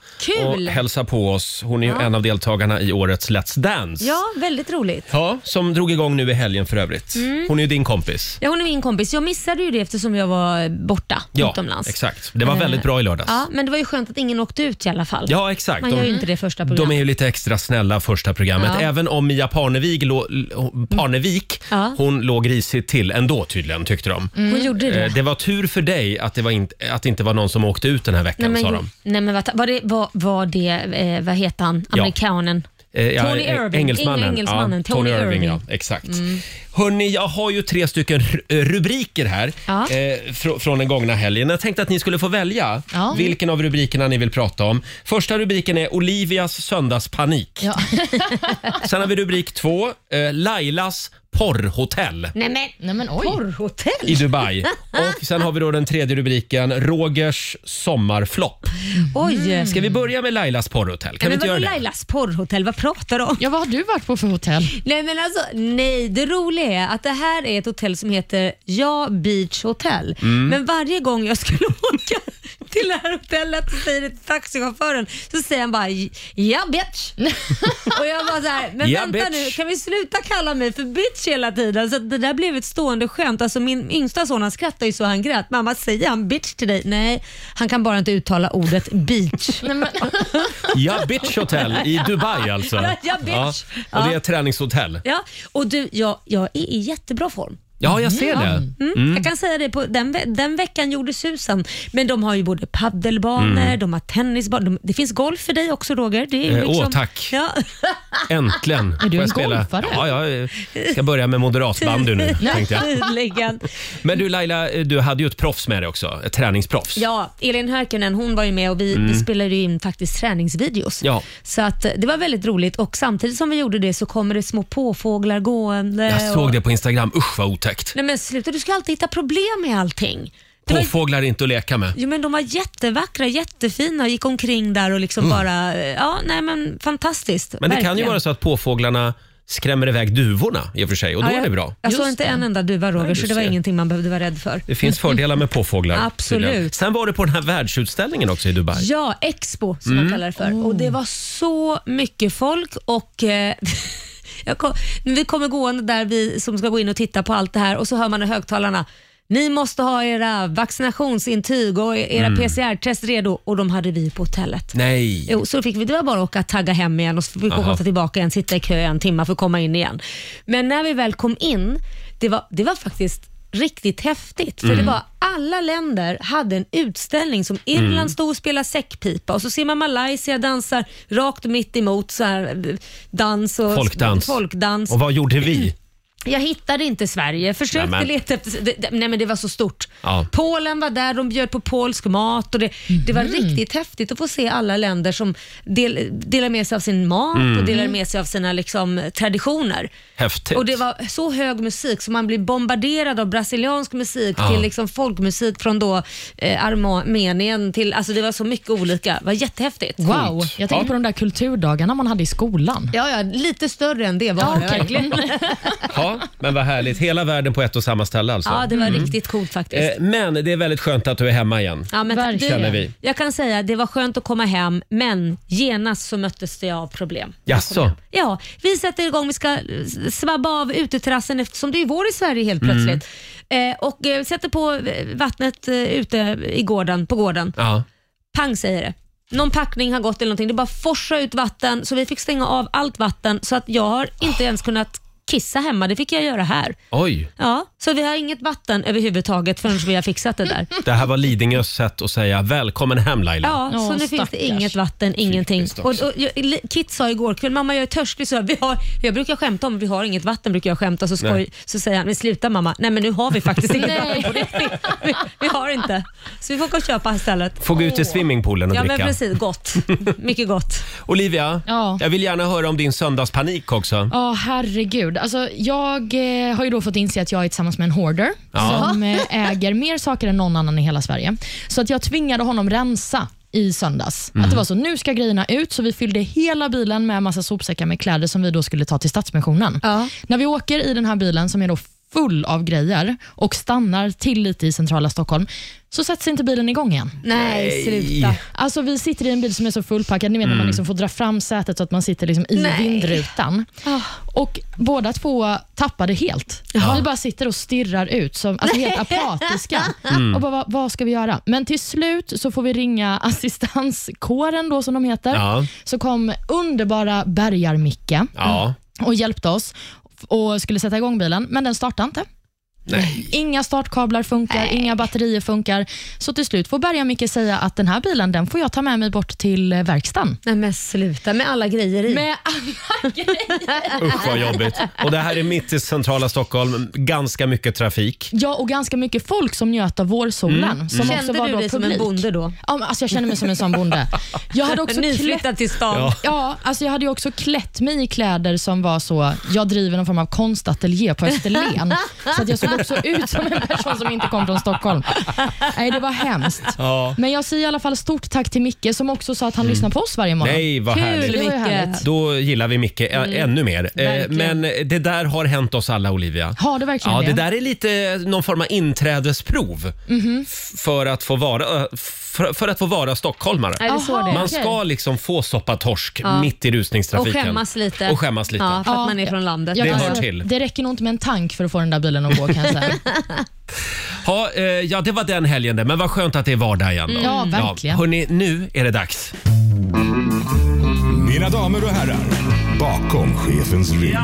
D: Kul!
A: och hälsa på oss. Hon är ju en av deltagarna i årets Let's Dance.
D: Ja, väldigt roligt.
A: Ja, som drog igång nu i helgen för övrigt.
D: Mm.
A: Hon är ju din kompis.
D: Ja, hon är min kompis. Jag missade ju det eftersom jag var borta
A: Ja,
D: utomlands.
A: exakt. Det var
D: Eh,
A: väldigt bra i lördags.
D: Ja, men det var ju skönt att ingen åkte ut i alla fall.
A: Ja, exakt.
D: Man
A: De-
D: gör ju inte det första
A: De är
D: programmet.
A: ju lite extra snälla första programmet.
D: Ja.
A: Även om Mia Parnevik, lå- l- Parnevik
D: Ja. Mm.
A: hon låg risigt till ändå tydligen, tyckte de.
D: Hon gjorde det.
A: Eh, Det var tur för dig att det, var in, att det inte var någon som åkte ut den här
D: Nej
A: veckan, sa
D: men,
A: de.
D: nej, men vad, var det, var, var det eh, vad heter han,
A: Ja.
D: amerikanen?
A: Eh, ja,
D: Tony
A: eh,
D: Irving.
A: Engelsmannen.
D: Engelsmannen,
A: Ja, Tony,
D: Tony
A: Irving.
D: Irving. Mm.
A: Ja, exakt. Hörni, jag har ju tre stycken ru- eh, rubriker här
D: Ja.
A: eh, fr- från den gångna helgen. Jag tänkte att ni skulle få välja
F: Ja.
A: vilken av rubrikerna ni vill prata om. Första rubriken är Olivias söndagspanik.
F: Ja.
A: Sen har vi rubrik två. Eh, Lailas porrhotell
D: Nej men,
F: Nej men oj.
D: porrhotell?
A: i Dubai. Och sen har vi då den tredje rubriken, Rogers sommarflopp.
D: Oj!
A: Ska vi börja med Lailas porrhotell? Kan vi
D: men
A: inte
D: vadå
A: göra det?
D: Lailas porrhotell? Vad pratar du om?
F: Ja, vad har du varit på för hotell?
D: Nej men alltså, nej. Det roliga är att det här är ett hotell som heter Ja Beach Hotel.
A: Mm.
D: Men varje gång jag skulle åka till det här hotellet så säger det till taxichauffören, så säger han bara Ja bitch. Och jag bara så här, men
A: Ja,
D: vänta
A: bitch.
D: nu, kan vi sluta kalla mig för bitch hela tiden? Så att det där blev ett stående skämt. Alltså min yngsta son han skrattade ju så han grät. Mamma, säger han bitch till dig? Nej, han kan bara inte uttala ordet beach.
F: Nej, men,
A: Ja, Bitch Hotel i Dubai alltså.
D: Ja, ja, bitch.
A: Ja. Och det är
D: Ja.
A: ett träningshotell.
D: Ja, och du, jag, jag är i jättebra form.
A: Ja, jag ser det.
D: Mm. Jag kan säga det, på den, ve- den veckan gjorde susen. Men de har ju både paddelbanor, de har tennisbanor. De, det finns golf för dig också Roger. Det är ju
A: Mm. Eh, åh, tack.
D: Ja.
A: Äntligen får
F: du
A: jag
F: en
A: spela.
F: golfare?
A: Ja, jag eh, ska börja med moderatbandy nu, tänkte jag.
D: Tydligen.
A: Men du Laila, eh, du hade ju ett proffs med dig också. Ett träningsproffs.
D: Ja, Elin Höökinen hon var ju med och vi, vi spelade ju in faktiskt träningsvideos.
A: Mm. Ja.
D: Så att eh, det var väldigt roligt och samtidigt som vi gjorde det så kommer det små påfåglar gående.
A: Jag
D: Eh, och...
A: såg det på Instagram. Usch vad otäckt.
D: Nej men sluta, du ska alltid hitta problem med allting. Det var,
A: Påfåglar är inte att leka med.
D: jo, men de var jättevackra, jättefina och gick omkring där och liksom bara, eh, ja nej men fantastiskt.
A: Mm. Men det kan ju
D: verkligen.
A: vara så att påfåglarna skrämmer iväg duvorna i och för sig och då
D: Ja,
A: är det
D: jag-
A: bra.
D: Jag såg inte en enda duva Roger,
A: du
D: så det var
A: ser.
D: ingenting man behövde vara rädd för.
A: Det finns fördelar med påfåglar.
D: Absolut.
A: tydligen. Sen var det på den här världsutställningen också i Dubai.
D: Ja, Expo som
A: Mm.
D: man kallar det för.
A: Oh.
D: Och Det var så mycket folk och eh, jag kom, vi kommer gående där vi som ska gå in och titta på allt det här och så hör man i högtalarna ni måste ha era vaccinationsintyg och era
A: Mm.
D: PCR-test redo och de hade vi på hotellet.
A: Nej.
D: Jo, så fick vi, det var bara att åka, tagga hem igen och så fick vi
A: Aha.
D: åka tillbaka igen, sitta i kö en timme för att komma in igen. Men när vi väl kom in, det var, det var faktiskt riktigt häftigt. För
A: Mm.
D: det var alla länder hade en utställning som Irland
A: Mm.
D: stod och spelade säckpipa och så ser man Malaysia dansar rakt mitt emot så här eh, dans och
A: Folkdans.
D: folkdans.
A: Och vad gjorde vi?
D: Jag hittade inte Sverige. Försökte
A: Nämen.
D: leta efter... det- det- Nej men det var så stort.
A: Ja.
D: Polen var där, de bjöd på polsk mat och det, det
F: Mhm.
D: var riktigt häftigt att få se alla länder som del, delar med sig av sin mat
F: Mm.
D: och delar med sig av sina liksom, traditioner.
A: Häftigt.
D: Och det var så hög musik så man blev bombarderad av brasiliansk musik
A: Ja.
D: till liksom folkmusik från då eh, Armenien till... Alltså det var så mycket olika. Det var jättehäftigt.
F: Wow, jag tänker på de där kulturdagarna man hade i skolan.
D: Ja, ja, lite större än det var det
F: okej.
D: verkligen.
A: Ja, men vad härligt. Hela världen på ett och samma ställe alltså.
D: Ja, det
F: Mm.
D: var riktigt coolt faktiskt.
A: Eh, Men det är väldigt skönt att du är hemma igen.
D: Ja, men
F: Verkligen.
D: du,
A: Känner vi.
D: Jag kan säga det var skönt att komma hem, men genast så möttes det av problem.
A: Jaså?
D: Ja, vi sätter igång, vi ska eh, svabba av uteterrassen eftersom det är vår i Sverige helt
A: Mm.
D: plötsligt. Eh, och eh, sätter på eh, vattnet eh, ute i gården, på gården.
A: Ja.
D: Pang säger det. Någon packning har gått eller någonting. Det bara forsar ut vatten så vi fick stänga av allt vatten så att jag har inte ens kunnat kissa hemma. Det fick jag göra här.
A: Oj,
D: Ja, så vi har inget vatten överhuvudtaget förrän vi har fixat det där.
A: det här var Lidingös sätt att säga välkommen hem Laila.
D: Ja,
F: Åh,
D: så nu finns
F: stackars.
D: det inget vatten, ingenting.
A: Typiskt
D: Och,
A: också.
D: och, jag- li- Kit sa igår kväll, mamma jag är törstig, så jag, vi har, jag brukar skämta om vi har inget vatten, brukar jag skämta, så, skoj,
A: Nej.
D: så säger han, men sluta mamma, nej men nu har vi faktiskt inget
F: Nej.
D: vatten på riktigt. Vi, vi har inte. Så vi får gå och köpa istället.
A: Får gå ut i swimmingpoolen och
D: Ja men
A: dricka.
D: precis, gott. Mycket gott.
A: Olivia,
F: Ja.
A: jag vill gärna höra om din söndagspanik också.
F: Ja, herregud. Alltså, jag eh, har ju då fått inse att jag är tillsammans med en hoarder
A: Ja.
F: som eh, äger mer saker än någon annan i hela Sverige. Så att jag tvingade honom rensa i söndags. Att det var så, nu ska grejerna ut, så vi fyllde hela bilen med massa sopsäckar med kläder som vi då skulle ta till Stadsmissionen.
D: Ja.
F: När vi åker i den här bilen som är då full av grejer och stannar till lite i centrala Stockholm, så sätts inte bilen igång igen.
D: Nej, sluta.
F: Alltså vi sitter i en bil som är så fullpackad, ni vet när man liksom får dra fram sätet så att man sitter liksom i
D: Nej.
F: vindrutan. Och båda två tappade helt. Vi bara sitter och stirrar ut, som, alltså helt apatiska. Och bara, vad, vad ska vi göra? Men till slut så får vi ringa assistanskåren då som de heter.
A: Ja.
F: Så kom underbara Bergar-Micke
A: Ja.
F: och hjälpte oss och skulle sätta igång bilen, men den startade inte.
A: Nej.
F: Inga startkablar funkar, inga batterier funkar. Så till slut får Berga Micke säga att den här bilen den får jag ta med mig bort till eh, verkstaden.
D: Nej men sluta med alla grejer i.
F: Med
A: Usch vad jobbigt. Och det här är mitt i centrala Stockholm. Ganska mycket trafik.
F: ja, och ganska mycket folk som njöt av vårsolen.
A: Mm.
F: Som också
D: Kände
F: var
D: du
F: då
D: dig som en
F: publik.
D: bonde då?
F: Ja, men alltså jag känner mig som en sån bonde. Jag hade också klätt,
D: Nyflyttad till stan.
A: Ja.
F: ja, alltså jag hade ju också klätt mig i kläder som var så, jag driver någon form av konstateljé på Österlen. så att jag såg också ut som en person som inte kom från Stockholm. Nej, det var hemskt.
A: Ja.
F: Men jag säger i alla fall stort tack till Micke som också sa att han lyssnar på oss varje morgon.
A: Mm. Nej, vad
D: Kul
A: härligt.
F: Det var ju
D: Micke. Mm.
F: härligt.
A: Då gillar vi Micke ä- ännu mer. Eh, men
F: Verkligen.
A: det där har hänt oss alla, Olivia.
F: Har det verkligen
A: Ja,
F: det?
A: det där är lite någon form av inträdesprov
F: Mhm.
A: f- för, att få vara, ö, för, för att få vara stockholmare.
D: Är det så
F: Jaha.
D: det är?
A: Man
F: okej.
A: ska liksom få soppa torsk mitt i rusningstrafiken.
D: Och skämmas lite.
A: Och skämmas lite.
D: Ja, för att
F: Ja,
D: man är från landet.
F: Jag
A: Det
F: kan
A: hör
F: säga,
A: till.
F: Det räcker nog inte med en tank för att få den där bilen att gå kan jag säga.
A: Ha, eh, ja, det var den helgen det, men vad skönt att det är vardag igen.
D: Mm.
A: Då.
F: Ja, verkligen.
A: hörni, nu är det dags.
B: Mina damer och herrar, bakom chefens rygg.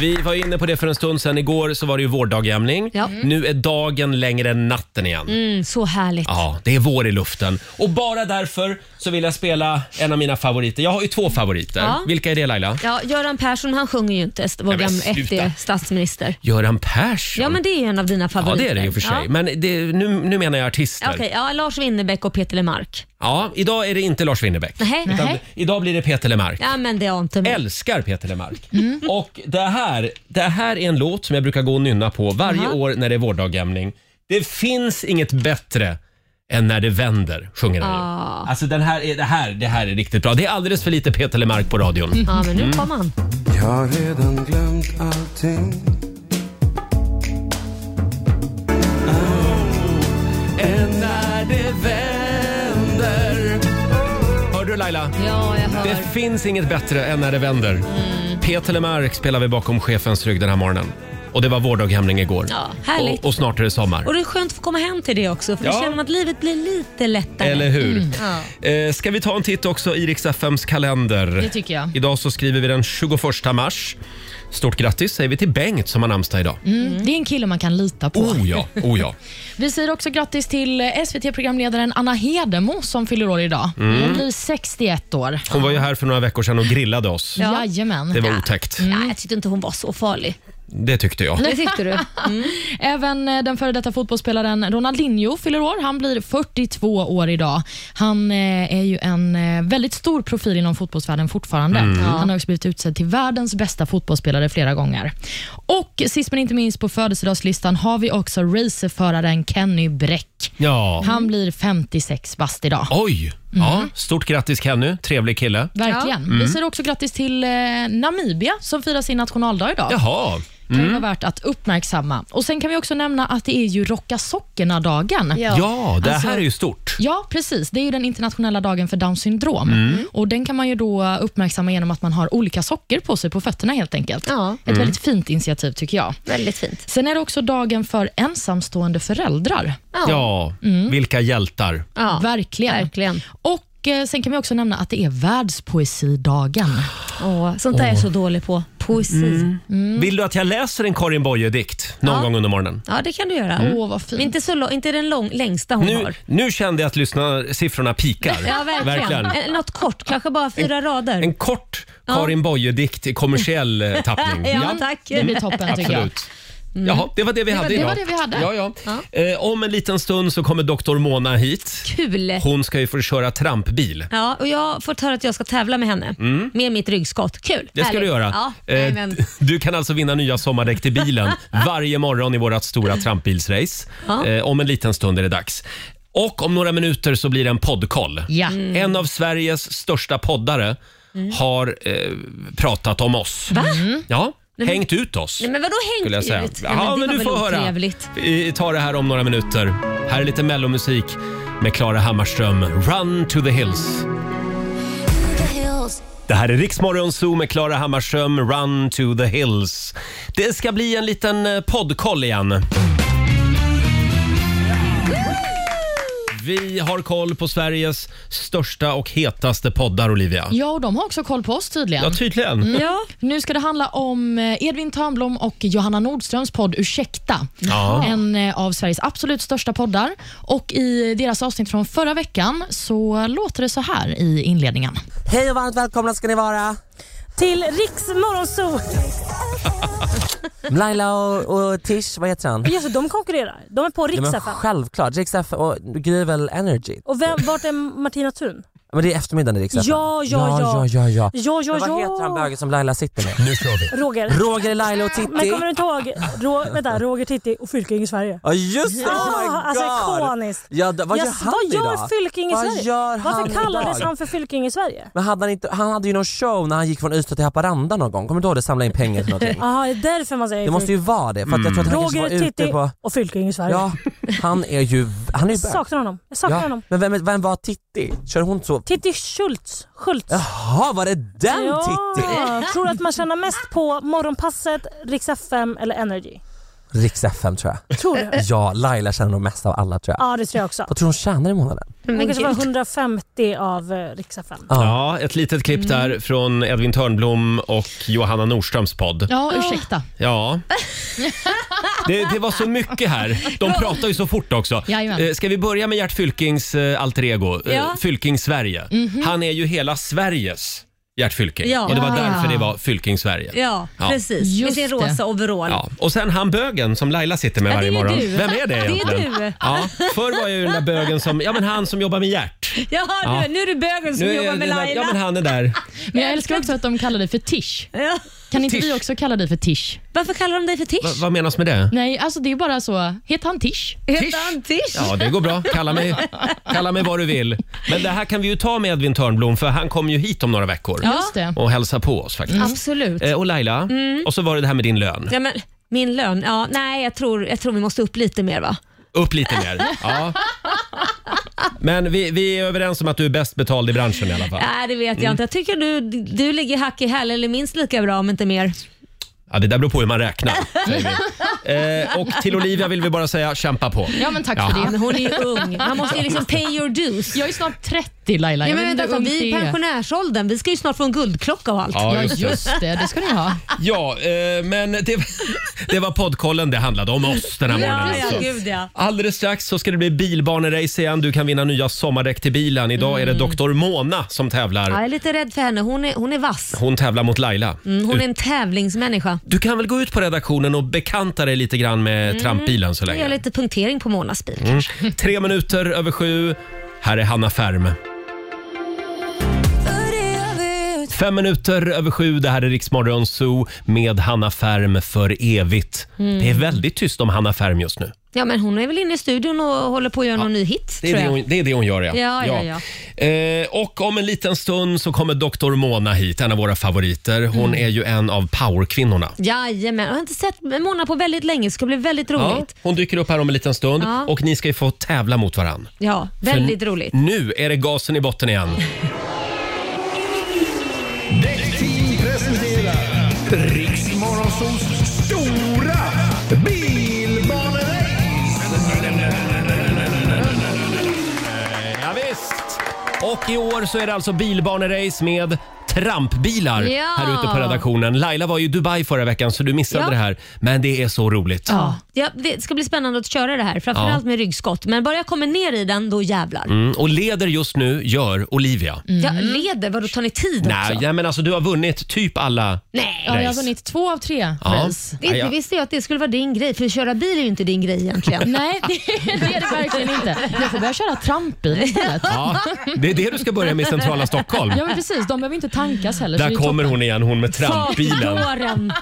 A: Vi var inne på det för en stund sedan. Igår så var det ju vårdagjämning.
D: Ja.
A: Nu är dagen längre än natten igen.
D: Mm, så härligt.
A: Ja, det är vår i luften. Och bara därför så vill jag spela en av mina favoriter. Jag har ju två favoriter.
D: Ja.
A: Vilka är det Laila?
D: Ja, Göran Persson han sjunger ju inte, st- vår
A: Nej, men
D: gamla
A: sluta.
D: FD statsminister.
A: Göran Persson?
D: Ja, men det är ju en av dina
A: Ja,
D: favoriter.
A: det är det ju för sig.
D: Ja.
A: Men det, nu, nu menar jag artister.
D: Ja, Okej, ja, Lars Winnerbäck och Peter Lemark.
A: Ja, idag är det inte Lars Winnerbäck.
D: Nej.
A: Utan
F: Nej.
A: Idag blir det Peter Lemark.
D: Ja, men det Mm. har inte med.
A: Älskar Peter Lemark. Och det här, det här är en låt som jag brukar gå och nynna på varje
D: Jaha.
A: år när det är vårdagjämning. Det finns inget bättre än när det vänder, sjunger han
D: Ah.
A: ju. Alltså den här är, det, här, det här är riktigt bra. Det är alldeles för lite Peter Lemark på radion.
D: Ja, men
A: Mm.
D: nu kom han.
E: Jag har redan glömt allting.
A: Än när det vänder. Hör du Laila?
D: Ja, Mm. jag
A: Det
D: hör.
A: finns inget bättre än när det vänder. Peter Lemark spelar vi bakom chefens rygg den här morgonen. Och det var vårdaghämning igår.
D: Ja, härligt.
A: Och, och snart är det sommar.
D: Och det är skönt att få komma hem till det också, för
A: Ja.
D: då känner man att livet blir lite lättare. Mm.
A: Eller hur? Eh, ska vi ta en titt också i Riks-FMs kalender?
F: Det tycker jag.
A: Idag så skriver vi den 21 mars. Stort grattis säger vi till Bengt som har namnsdag idag.
F: Mm. Det är en kille man kan lita på.
A: Oh ja, oh ja.
F: Vi säger också grattis till SVT-programledaren Anna Hedemo som fyller år idag. Hon blir 61 år.
A: Mm. Hon var ju här för några veckor sedan och grillade oss.
D: Ja.
F: Jajamän. Mm.
A: Det var otäckt.
D: Nej, jag tyckte inte hon var så farlig.
A: Det tyckte jag.
D: Det tyckte du?
F: Mm. Även eh, den före detta fotbollsspelaren Ronaldinho fyller år. Han blir 42 år idag. Han eh, är ju en eh, väldigt stor profil inom fotbollsvärlden fortfarande.
A: Mm.
F: Han har också blivit utsedd till världens bästa fotbollsspelare flera gånger. Och sist men inte minst på födelsedagslistan har vi också racerföraren Kenny Bräck.
A: Ja.
F: Han blir 56 bast idag.
A: Oj!
D: Mm.
A: Ja, stort grattis Kenny, trevlig kille. Mm.
F: Verkligen. Vi säger också grattis till eh, Namibia som firar sin nationaldag idag.
A: Jaha.
F: kan
A: Mm.
F: ju vara värt att uppmärksamma. Och Sen kan vi också nämna att det är ju rocka sockerna-dagen.
A: Ja, det
F: Alltså-
A: här är ju stort.
F: Ja, precis. Det är ju den internationella dagen för Downs syndrom.
A: Mm.
F: Och Den kan man ju då uppmärksamma genom att man har olika socker på sig på fötterna helt enkelt.
D: Ja.
F: Ett
A: Mm.
F: väldigt fint initiativ tycker jag.
D: Väldigt fint.
F: Sen är det också dagen för ensamstående föräldrar.
A: Ja, vilka hjältar.
F: Mm.
D: Ja.
F: Verkligen.
D: Verkligen.
F: Och eh, Sen kan vi också nämna att det är världspoesidagen.
D: Åh, sånt där är jag så dålig på. Poesi.
A: Mm. Vill du att jag läser en Karin Boye-dikt någon
D: Ja.
A: gång under morgonen?
D: Ja, det kan du göra.
F: Åh, vad
D: Men
F: fint.
D: inte, så lång, inte den lång, längsta hon
A: Mm. Nu,
D: har.
A: nu kände jag att lyssna, siffrorna pikar.
D: Ja, verkligen. Eh, Något kort, kanske bara fyra rader.
A: En kort Karin Boye-dikt i kommersiell eh, tappning.
D: Ja, tack. Mm.
F: Det blir toppen tycker jag.
A: Absolut. Jaha, det var det vi hade
F: det
A: idag.
F: var det vi hade.
A: Ja, ja. Eh, om en liten stund så kommer doktor Mona hit.
D: Kul.
A: Hon ska ju få köra trampbil.
D: Ja, och jag har fått höra att jag ska tävla med henne med mitt ryggskott. Kul!
A: Mm. Det ska
D: Härligt.
A: du göra.
D: Ja,
A: Eh,
D: jajamän.
A: du kan alltså vinna nya sommardäck till bilen varje morgon i vårt stora trampbilsrace.
D: Ja.
A: Eh, om en liten stund är det dags. Och om några minuter så blir det en poddkoll.
F: Ja.
D: Mm.
A: En av Sveriges största poddare har eh, pratat om oss.
D: Va?
A: Ja, hängt ut oss.
D: Nej, men vadå
A: skulle jag
D: hängt
A: säga.
D: ut?
A: Ja,
D: det
A: men,
D: var
A: du
D: väl
A: får höra.
D: otrevligt.
A: Vi tar det här om några minuter. Här är lite mellomusik med Klara Hammarström. Run to the hills. Det här är Riksmorgon Zoo med Klara Hammarström, Run to the hills. Det ska bli en liten eh, poddkoll igen. Vi har koll på Sveriges största och hetaste poddar, Olivia.
F: Ja, och de har också koll på oss tydligen.
A: Ja, tydligen.
D: Ja,
F: Nu ska det handla om eh, Edvin Törnblom och Johanna Nordströms podd Ursäkta.
A: Ja.
F: En eh, av Sveriges absolut största poddar. Och I deras avsnitt från förra veckan så låter det så här i inledningen.
J: Hej och varmt välkomna ska ni vara till Riks Morgonzoo. Laila och, och Tish, vad heter han?
H: Ja, så de konkurrerar. De är på
J: Ja,
H: riks
J: men självklart, Rix F och Gry är väl Energy?
H: Och vem, vart är Martina Thun?
J: Men det är eftermiddagen i Rix FM.
H: Ja,
J: ja,
H: ja, ja.
J: ja, ja.
H: Ja, ja,
J: Men vad heter han
H: ja.
J: bögen som Laila sitter med?
H: Roger.
J: Roger, Laila och
H: Men
J: Titti?
H: kommer du inte ihåg? Ro, vänta, Roger, Titti och Fylking i Sverige.
J: Ja just det, oh my
H: Ja,
J: god!
H: alltså ikoniskt.
J: Ja, d- vad gör
H: Yes,
J: han
H: vad gör
J: idag?
H: Fylking i
J: Vad
H: Sverige?
J: gör han
H: Varför kallades
J: idag?
H: han för Fylking i Sverige?
J: Men hade han, inte, han hade ju någon show när han gick från Ystad till Haparanda någon gång, kommer du ihåg det? Samla in pengar till någonting.
H: Jaha, det är därför man säger
J: Det måste ju vara det, för att jag tror att han kanske var
H: Roger,
J: ute
H: Titti
J: på...
H: och Fylking i Sverige.
J: Ja, han är ju, han är ju
H: Jag
J: bög.
H: saknar honom. Jag saknar
J: Ja,
H: honom.
J: men vem, vem var Titti? Kör hon så?
H: Titti Schultz. Schultz.
J: Jaha, var det den Titti?
H: Tror du att man tjänar mest på Morgonpasset, Rix FM eller Energy?
J: Rix FM tror jag.
H: Tror du?
J: Ja, Laila känner nog mest av alla tror jag.
H: Ja, det tror jag också.
J: Vad tror du hon tjänar i månaden?
H: Hon kanske var 150 av eh, Rix FM.
A: Ja, ett litet klipp
D: Mm.
A: där från Edvin Törnblom och Johanna Nordströms podd.
F: Ja, ursäkta.
A: Ja. Det, det var så mycket här. De pratar ju så fort också.
F: Jajamän.
A: Eh, Ska vi börja med Gert Fylkings eh, alter ego, eh,
D: Ja. Mhm.
A: Fylking-Sverige. Han är ju hela Sveriges Gert Fylking
D: Ja. Ah.
A: och det var
F: Ja.
A: därför det var Fylking-Sverige.
D: ja,
A: Ja.
D: precis.
F: Just
D: Med sin
F: det.
D: rosa overall.
A: Ja. Och sen han bögen som Laila sitter med
D: Ja,
A: varje
D: det är
A: morgon.
D: du.
A: Vem är det
D: Det är
A: egentligen?
D: du.
A: Ja, förr var jag ju den där bögen som, ja men han som jobbar med Gert.
D: Jaha,
A: Ja.
D: Nu, nu är det bögen som
A: Nu är
D: jobbar
A: jag
D: med
A: den där-
D: Laila. Ah,
A: Ja men han är där.
F: Men jag älskar också att de kallar dig för Tish.
D: Ja.
F: Kan inte
A: Tish.
F: vi också kalla dig för Tish?
D: Varför kallar de dig för Tish?
A: Va, vad menas med det?
F: Nej, alltså det är bara så. Heter han Tish?
D: Heter han Tish?
A: Ja, det går bra. Kalla mig, kalla mig vad du vill. Men det här kan vi ju ta med Edvin Törnblom för han kommer ju hit om några veckor
F: Just det.
A: och hälsa på oss faktiskt.
F: Mm.
D: Mm. Absolut. Mm.
A: Eh, och Laila, och så var det det här med din
F: Eh.
A: lön.
D: Ja, men, min lön? Ja, nej, jag tror, jag tror vi måste upp lite mer va?
A: Upp lite mer. Ja. Men vi, vi är överens om att du är bäst betald i branschen i alla fall. Mm.
D: Nej, det vet
F: Mm.
D: jag inte. Jag tycker du, du ligger hack i häl eller minst lika bra om inte mer.
A: Ja, det där beror på hur man räknar. Säger vi. Eh, och till Olivia vill vi bara säga, kämpa på.
F: Ja, men tack
A: Ja.
F: för
D: Ja,
F: det.
D: men hon är ju ung. Man måste ju liksom pay your dues.
F: Jag är snart 30. 30 Laila.
D: Ja,
F: Jag
D: men
F: vet inte
D: vänta,
F: hur
D: alltså,
F: ungt
D: vi är i
F: det är.
D: pensionärsåldern. Vi ska ju snart få en guldklocka och allt.
F: Ja, just det. Det ska ni ha.
A: Ja, eh, men det, det var poddkollen det handlade om oss den här
D: Ja,
A: morgonen.
D: ja,
A: alltså.
D: gud, ja.
A: Alldeles strax så ska det bli bilbanerace igen. Du kan vinna nya sommardäck till bilen. Idag är det Dr. Mona som
D: Mm. Ja, jag
A: tävlar.
D: är lite rädd för henne. Hon är, hon är vass.
A: Hon tävlar mot Laila.
D: Mm, hon är
A: Du-
D: en tävlingsmänniska.
A: Du kan väl gå ut på redaktionen och bekanta dig lite grann med
F: Eh,
D: Mm.
A: trampbilen så
D: Jag gör
A: länge.
D: lite punktering på Monas bil.
A: Mm. Tre minuter över sju. Här är Hanna Färm. Fem minuter över sju, det här är Riksmorgon Zoo med Hanna Färm för evigt.
D: Mm.
A: Det är väldigt tyst om Hanna Färm just nu.
D: Ja, men hon är väl inne i studion och håller på att göra någon ny hit,
A: Det är
D: tror
A: det,
D: jag.
A: hon, det är det hon gör, ja.
D: Ja, ja,
A: Eh, och om en liten stund så kommer Dr. Mona hit, en av våra favoriter. Hon
D: Mm.
A: är ju en av powerkvinnorna.
D: Jajamän. Jag har inte sett Mona på väldigt länge, så det ska bli väldigt
A: Ja,
D: roligt.
A: hon dyker upp här om en liten stund
D: Ja.
A: och ni ska ju få tävla mot varann.
D: Ja, väldigt
A: För
D: roligt.
A: Nu är det gasen i botten igen.
B: Däckteam presenterar Riksmorgonsols stora
A: Eh, Ja, visst. Och i år så är det alltså bilbanerace med trampbilar
D: Ja.
A: här ute på redaktionen. Laila var ju i Dubai förra veckan så du missade
D: Ja.
A: det här. Men det är så roligt.
D: Ja. det ska bli spännande att köra det här, framförallt
A: Ja.
D: med ryggskott. Men bara jag kommer ner i den, då jävlar.
A: Mm, och leder just nu gör Olivia.
D: Jag
F: Mm.
D: leder, vadå tar ni tid
A: Nej,
D: också?
A: ja, men alltså du har vunnit typ alla
D: Nej.
A: race.
D: vunnit
F: två av tre
A: Ja. race.
D: Inte
A: Ja, ja.
D: visste jag att det skulle vara din grej, för att köra bil är ju inte din grej egentligen.
F: Nej, det är det verkligen inte. Jag får börja köra trampbil istället.
A: Ja, det är det du ska börja med i centrala Stockholm.
F: Ja, men precis. De behöver inte tankas heller. så
A: Där
F: det är
A: kommer
F: toppen.
A: hon igen, hon med trampbilen.
D: Fartdåren.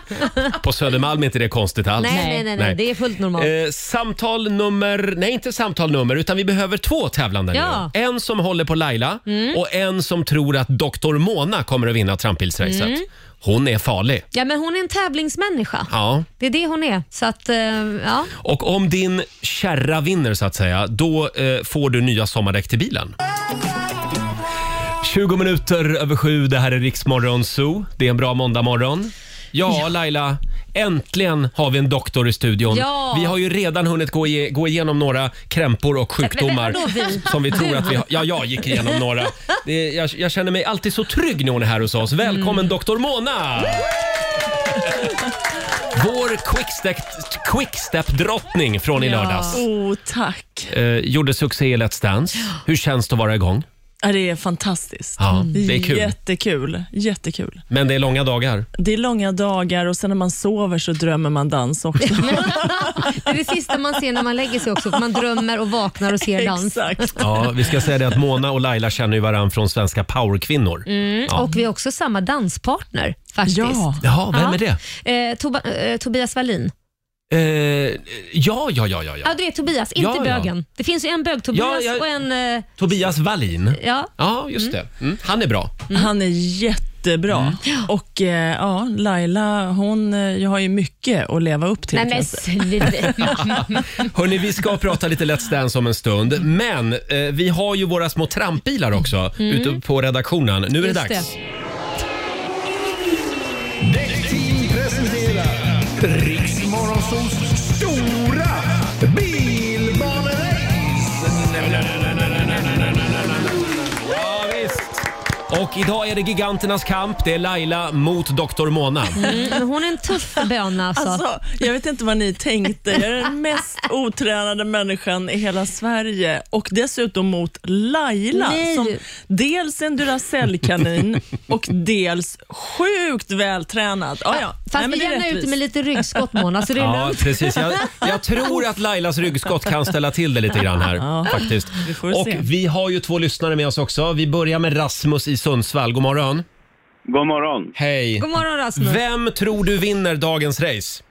A: På Södermalm är inte det konstigt alls.
D: Nej, nej, nej, nej, det är fullt normalt.
A: Eh, samtal nummer, nej inte samtal nummer, utan vi behöver två tävlande
D: Ja.
A: nu. En som håller på Laila
D: Mm.
A: och en som tror att Dr. Mona kommer att vinna trampbilsracet.
D: Mm.
A: Hon är farlig.
D: Ja, men hon är en tävlingsmänniska.
A: Ja.
D: Det är det hon är. Så att, eh, ja.
A: Och om din kärra vinner så att säga, då eh, får du nya sommardäck till bilen. 20 minuter över sju, det här är Riksmorgon Zoo. Det är en bra måndagmorgon. Ja, Laila, äntligen har vi en doktor i studion.
D: Ja.
A: Vi har ju redan hunnit gå, ige- gå igenom några krämpor och
D: Men- men
A: sjukdomar
D: vadå vi?
A: som vi tror att vi har. Ja, jag gick igenom några. Det, jag, jag känner mig alltid så trygg när hon är här hos oss.
D: Mm.
A: Välkommen doktor Mona! Vår quickstep- quickstep-drottning från i lördags.
K: Oh, tack.
A: Eh, gjorde succé i Let's Dance. Hur känns det att vara igång?
K: Ja, det är fantastiskt. Mm.
A: Ja, det är kul.
K: Jättekul. Jättekul.
A: Men det är långa dagar.
K: Det är långa dagar och sen när man sover så drömmer man dans också.
D: Mm. Det är det sista man ser när man lägger sig också. för Man drömmer och vaknar och ser dans.
A: Ja, vi ska säga det att Mona och Laila känner ju varandra från Svenska powerkvinnor.
D: Mm,
A: Ja.
D: Och vi har också samma danspartner faktiskt.
A: Ja. Jaha, vem är det?
D: Eh, Toba, eh, Tobias Wallin.
A: Eh, ja, ja, ja, ja,
D: Ja.
A: ja.
D: du vet Tobias, inte
A: Ja, ja.
D: bögen. Det finns ju en bög-Tobias
A: Ja, jag-
D: och en... eh,
A: Tobias Wallin.
D: Ja.
A: Ja, just det. Mm. Han är bra. Mm.
K: Han är jättebra. Och eh, ja, Laila, hon eh, jag har ju mycket att leva upp till.
D: Nej men sluta.
A: Hörni, vi ska prata lite Let's Dance om en stund. Men eh, vi har ju våra små trampbilar också
B: Mm.
A: ute på redaktionen. Nu är det
B: Just
A: dags.
B: Däckteam presenterar Riksmorgonsols stora
A: Ja, visst. Och idag är det giganternas kamp. Det är Laila mot Dr. Mona.
D: Mm, men hon är en tuff böna alltså.
K: Alltså, jag vet inte vad ni tänkte. Jag är den mest otränade människan i hela Sverige och dessutom mot Laila
D: Nej.
K: som dels är en Duracell-kanin och dels sjukt vältränad. Ah, ja.
D: Fast vi
K: det är
D: jämnar ut
K: rättvist.
D: det med lite ryggskott Mona, så det är
A: Ja,
D: lugnt.
A: precis. Jag, jag tror att Lailas ryggskott kan ställa till det lite grann här.
K: Ja,
A: faktiskt.
K: vi får
A: och
K: se.
A: vi har ju två lyssnare med oss också. Vi börjar med Rasmus i Sundsvall. God morgon.
L: God morgon.
A: Hej.
D: God morgon, Rasmus.
A: Vem tror du vinner dagens race?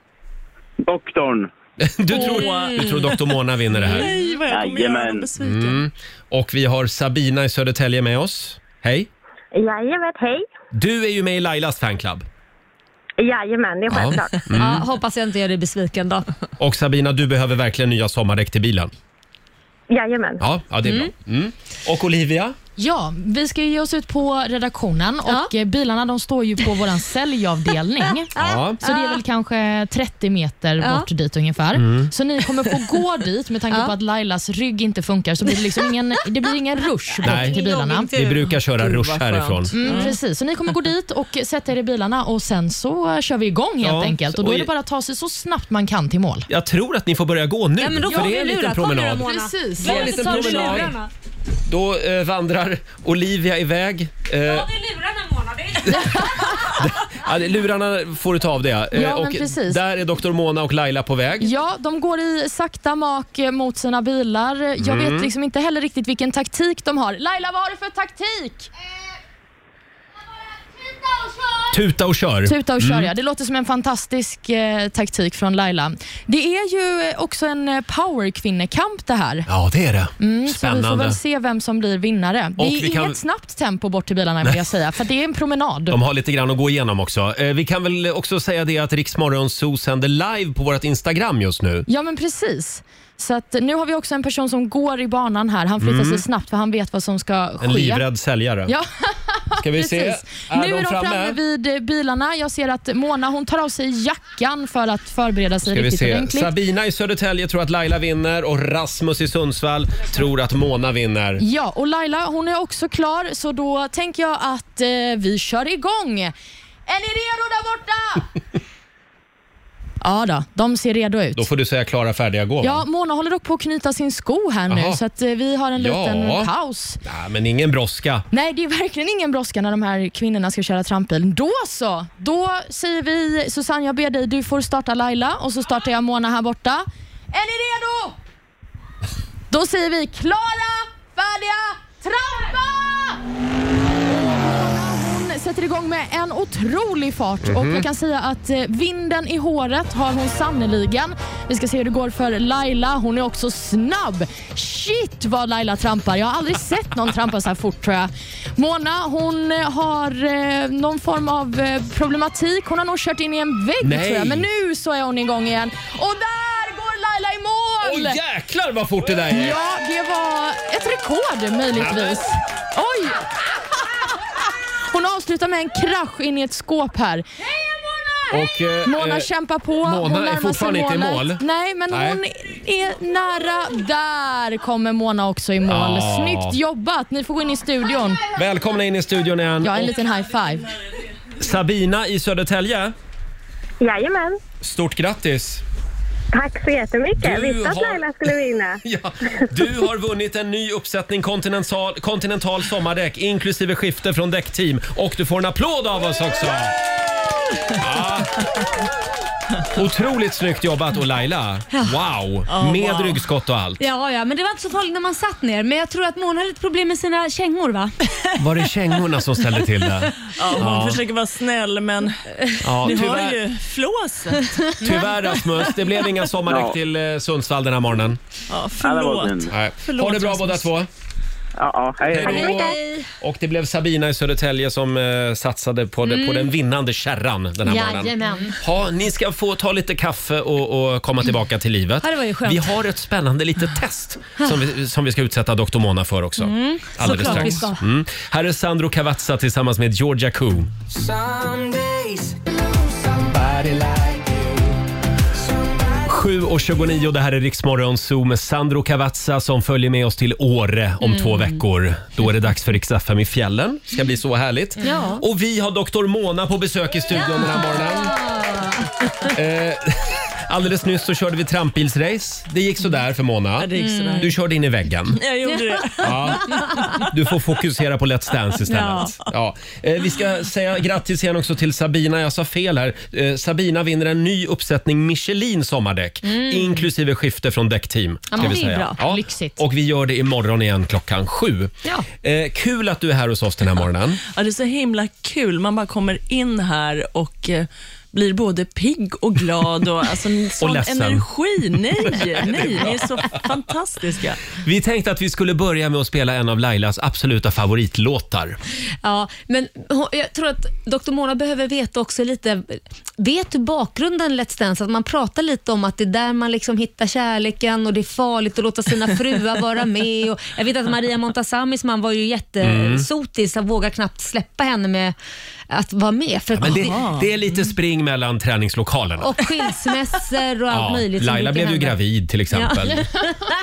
L: Doktorn.
A: Du tror, du tror doktor Mona vinner det här?
K: Nej, vad jag kommer göra honom besviken.
A: Mm. Och vi har Sabina i Södertälje med oss. Hej.
M: Jajamän, hej.
A: Du är ju med i Lailas fanclub.
M: Jajamän, det är
A: Ja.
M: självklart.
A: Mm.
D: Ja, hoppas jag inte gör dig besviken då.
A: Och Sabina, du behöver verkligen nya sommardäck till bilen.
M: Jajamän.
A: Ja, ja det är
D: Mm.
A: bra. Mm. Och Olivia?
F: Ja, vi ska ge oss ut på redaktionen och eh, bilarna de står ju på vår säljavdelning.
B: Ja.
F: Så det är väl kanske 30 meter
B: Ja.
F: bort dit ungefär.
B: Mm.
F: Så ni kommer få gå dit med tanke på att Lailas rygg inte funkar så blir det, liksom ingen, det blir ingen rush bort
A: Nej,
F: till bilarna.
A: vi brukar köra
B: Gud, vad
A: rush
B: skönt.
A: härifrån.
F: Mm, Precis, så ni kommer gå dit och sätta er i bilarna och sen så eh, kör vi igång helt
A: Ja,
F: enkelt. Och då
A: och
F: är
A: i-
F: det bara att ta sig så snabbt man kan till mål.
A: Jag tror att ni får börja gå nu,
F: Ja, men då
A: för
F: får
A: det
F: vi
A: är en
F: lura.
A: liten
F: Kom nu då,
A: promenad.
F: Mona.
K: Precis.
A: Det är en liten promenad. Då eh, vandrar Olivia iväg. Eh, ja, det- lurarna får du ta av det. ja. Eh,
F: Ja, men
A: och
F: precis.
A: Där är Dr. Mona och Laila på väg.
F: Ja, de går i sakta mak eh, mot sina bilar. Jag
A: Mm.
F: vet liksom inte heller riktigt vilken taktik de har. Laila, vad har du för taktik?
A: Tuta och kör.
F: Tuta och kör,
A: Mm.
F: ja. Det låter som en fantastisk eh, taktik från Laila. Det är ju eh, också en eh, powerkvinnekamp det här.
A: Ja, det är det.
F: Mm, så vi får
A: Spännande.
F: väl se vem som blir vinnare.
A: Och
F: det är
A: vi
F: inget
A: kan-
F: snabbt tempo bort till bilarna vill jag säga, för det är en promenad.
A: De har lite grann att gå igenom också. Eh, vi kan väl också säga det att Riksmorgon Zoo sänder live på vårt Instagram just nu.
F: Ja, men precis. Så att, nu har vi också en person som går i banan här. Han flyttar
A: Mm.
F: sig snabbt för han vet vad som ska ske.
A: En livrädd säljare.
F: Ja,
A: Ska vi se.
F: precis.
A: Är
F: nu
A: de
F: är de framme?
A: framme
F: vid eh, bilarna. Jag ser att Mona hon tar av sig jackan för att förbereda sig
A: Ska vi
F: riktigt
A: se.
F: ordentligt.
A: Sabina i Södertälje tror att Laila vinner och Rasmus i Sundsvall tror att Mona vinner.
F: Ja, och Laila hon är också klar så då tänker jag att eh, vi kör igång. Är ni redo där borta? ja då, de ser redo ut.
A: Då får du säga klara, färdiga, gå. va?
F: Ja, Mona håller dock på att knyta sin sko här nu
A: Jaha.
F: så att eh, vi har en liten
A: Ja.
F: paus.
A: Nej, men ingen brådska.
F: Nej, det är verkligen ingen brådska när de här kvinnorna ska köra trampbil. Då så! Då säger vi Susanne, jag ber dig, du får starta Laila och så startar jag Mona här borta. Är ni redo? Då säger vi klara, färdiga, trampa! Hon sätter igång med en otrolig fart och
B: Mhm.
F: jag kan säga att eh, vinden i håret har hon sannoliken. Vi ska se hur det går för Laila. Hon är också snabb. Shit vad Laila trampar. Jag har aldrig sett någon trampa så här fort tror jag. Mona hon eh, har eh, någon form av eh, problematik. Hon har nog kört in i en vägg
A: Nej.
F: tror jag. Men nu så är hon igång igen. Och där går Laila i
A: Åh
F: mål!
A: jäklar vad fort det där är!
F: Ja, det var ett rekord möjligtvis. Oj! Hon avslutar med en krasch in i ett skåp här.
A: Och, eh,
F: Mona
A: eh,
F: kämpar på. hon
A: Mona
F: närmar
A: är
F: sig
A: fortfarande inte i
F: målet.
A: mål.
F: Nej, men
A: Nej.
F: hon är nära. Där kommer Mona också i mål.
A: Ja.
F: Snyggt jobbat. Ni får gå in i studion.
A: Välkomna in i studion igen.
F: Ja, en
A: Och
F: liten high five.
A: Sabina i Södertälje,
M: Jajamän.
A: stort grattis!
M: Tack så jättemycket.
A: Du
M: Visste att
A: har-
M: Laila skulle vinna.
A: Ja. Du har vunnit en ny uppsättning Continental, Continental sommardäck inklusive skifte från däckteam och du får en applåd av oss också! Ja. Otroligt snyggt jobbat och Laila, wow!
D: Ja,
A: Med
D: wow.
A: ryggskott och allt.
D: Ja, ja, men det var inte så farligt när man satt ner. Men jag tror att Mona hade ett problem med sina kängor va?
A: Var det kängorna som ställde till det?
K: Ja, hon
A: Ja.
K: försöker vara snäll men
A: Ja,
K: ni
A: tyvärr.
K: hör ju flåset.
A: Tyvärr alltså. Rasmus, det blev inga sommardäck
K: Ja.
A: till eh, Sundsvall den här morgonen.
K: Ja,
A: Ja,
K: förlåt.
A: det var synd. Nej.
K: Förlåt,
A: ha det bra
K: Rasmus.
A: båda två. Ja, hej. då. Och det blev Sabina i Södertälje som eh, satsade på, det,
D: Mm.
A: på den vinnande kärran den här morgonen.
D: Jajamän.
A: Ja, ni ska få ta lite kaffe och, och komma tillbaka till livet.
D: Ja, det var ju skönt.
A: Vi har ett spännande litet test som vi, som vi ska utsätta Dr. Mona för också.
B: Ah. Mm,
A: Alldeles
B: såklart vi
A: strax.
B: ska.
A: Mm. Här är Sandro Cavazza tillsammans med Georgia Koo.
B: Somebody like you. Somebody
A: 7.29, det här är Riksmorgon Zoo med Sandro Cavazza som följer med oss till Åre om
B: Mm.
A: två veckor. Då är det dags för Rix FM i fjällen. Det ska bli så härligt.
B: Ja.
A: Och vi har Dr. Mona på besök i studion den här morgonen. Eh, alldeles nyss så körde vi trampbilsrace. Det gick sådär för Mona.
K: det gick sådär.
A: Du körde in i väggen.
K: Jag gjorde det.
A: Ja. Du får fokusera på Let's Dance istället. Ja. Eh, vi ska säga grattis igen också till Sabina. Jag sa fel här. Eh, Sabina vinner en ny uppsättning Michelin sommardäck
F: Mm.
A: inklusive skifte från däckteam.
F: Ja,
A: ska
F: men
A: vi
F: det är
A: säga.
F: bra.
A: Ja.
F: Lyxigt.
A: Och vi gör det imorgon igen klockan sju.
F: Ja.
A: Eh, kul att du är här hos oss den här morgonen.
K: Ja, det är så himla kul. Man bara kommer in här och eh, blir både pigg och glad och alltså, en sån
A: ledsen.
K: energi. Nej, nej, ni är så fantastiska.
A: Vi tänkte att vi skulle börja med att spela en av Lailas absoluta favoritlåtar.
D: Ja, men hon- jag tror att Dr. Mona behöver veta också lite, vet du bakgrunden Let's Dance? Att man pratar lite om att det är där man liksom hittar kärleken och det är farligt att låta sina fruar vara med. Och jag vet att Maria Montazamis man var ju
A: Mm.
D: jättesotis, mm. vågar knappt släppa henne med att vara med. För
A: Men det,
D: det-
A: det är lite spring mellan träningslokalerna.
D: och skilsmässor och allt
A: Ja,
D: möjligt. som
A: Laila
D: brukar
A: blev ju
D: hända.
A: gravid till exempel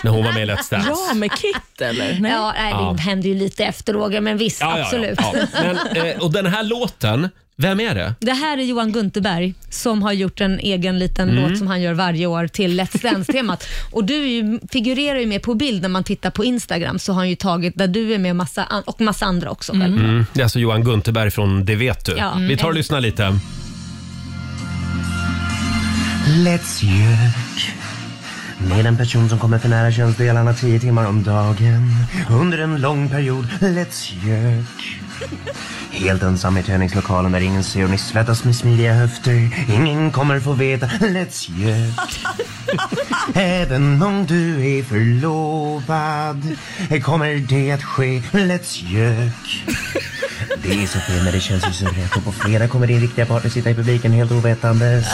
A: när hon var med i Let's Dance.
K: Ja, med Kit eller? Nej.
D: Ja, nej, det
A: Ja.
D: hände ju lite efter Roger, men visst,
A: Ja, ja, ja,
D: absolut.
A: ja. Men, eh, och den här låten, vem är det?
D: Det här är Johan Gunterberg som har gjort en egen liten
A: Mm.
D: låt som han gör varje år till Let's Dance-temat. och du är ju, figurerar ju med på bild när man tittar på Instagram så har han ju tagit där du är med massa an- och massa andra också. självklart.
A: Mm, det är alltså Johan Gunterberg från Det vet du.
D: Ja.
A: Vi tar och
D: Mm.
A: lyssnar lite.
N: Let's gök med en person som kommer för nära könsdelarna 10 timmar om dagen under en lång period. Let's gök helt ensam i träningslokalen där ingen ser och ni svettas med smidiga höfter. Ingen kommer få veta. Let's gök Även Mm, om du är förlovad kommer det att ske. Let's gök Det är så fel när det känns ju så rätt och på fredag kommer din riktiga partner sitta i publiken helt ovetandes.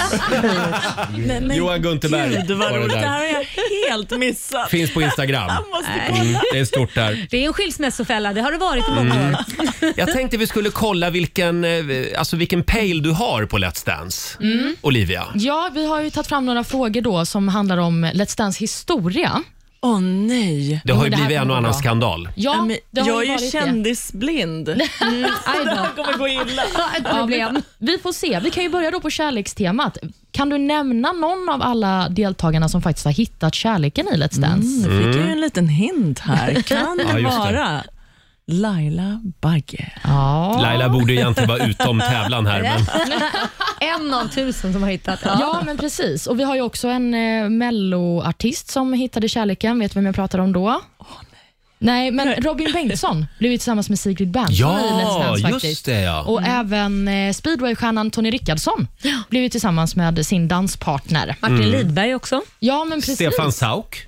K: Nej, men
A: Johan Gunterberg
K: Gud vad
A: var det
K: roligt, det
A: där.
K: här har jag helt missat.
A: Finns på Instagram.
K: Jag måste kolla.
A: Mm, det är stort där.
D: Det är en skilsmässofälla, det har det varit i många
A: Mm.
D: år.
A: Jag tänkte vi skulle kolla vilken, eh, alltså vilken pejl du har på Let's Dance.
F: Mm.
A: Olivia.
F: Ja, vi har ju tagit fram några frågor då som handlar om Let's Dance historia.
K: Åh nej.
A: Det har ju blivit en och annan skandal.
F: Ja,
K: men
F: det har
K: jag är
F: ju
K: ju
F: varit det.
K: kändisblind.
F: Mm,
K: Så det här kommer gå illa.
F: Ja, vi, vi får se. Vi kan ju börja då på kärlekstemat. Kan du nämna någon av alla deltagarna som faktiskt har hittat kärleken i Let's Dance?
K: Mm, nu fick jag ju en liten hint här. Kan
F: Ja,
K: det
F: just det.
K: vara Laila Bagge?
F: Ja.
A: Laila borde egentligen vara utom tävlan här. Men...
D: en av tusen som har hittat.
F: Ja. men precis. Och Vi har ju också en eh, melloartist som hittade kärleken. Vet du vem jag pratar om då? nej. men Robin Bengtsson blev ju tillsammans med Sigrid Bernson
B: Ja,
F: i Let's Dance.
B: just
F: Faktiskt.
B: det, ja.
F: Och
B: Mm.
F: även eh, speedwaystjärnan Tony Rickardsson blev ju tillsammans med sin danspartner.
A: Martin Mm.
D: Lidberg också.
F: Ja, men precis.
A: Stefan Sauk.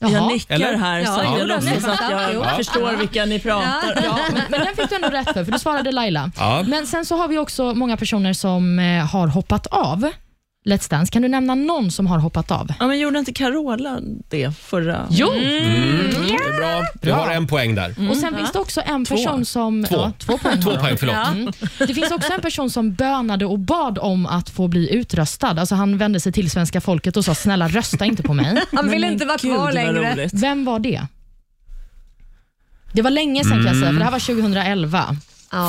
K: Jag nickar
A: Eller?
K: här så
A: Ja,
K: jag
A: jo då,
K: låtsas
A: Stefan
K: att jag
A: Sauk, jo.
K: förstår vilka ni pratar om.
F: Ja, men- men den fick du ändå rätt för, för du svarade Laila.
K: Ja.
F: Men sen så har vi också många personer som eh, har hoppat av Let's Dance. Kan du nämna någon som har hoppat av?
K: Ja, men gjorde inte Carola det förra...
F: Jo!
A: Mm. Det är bra. Du har en poäng där.
F: Och Sen finns det också en
A: Två.
F: person som...
A: Två.
F: Ja, två poäng.
A: Två
F: har de.
A: poäng, förlåt.
F: Mm. Det finns också en person som bönade och bad om att få bli utröstad. Alltså han vände sig till svenska folket och sa snälla rösta inte på mig.
D: Han ville inte vara kvar
F: Men
D: längre.
F: gud, vad roligt. Vem var det? Det var länge sedan kan jag säga, för det här var 2011.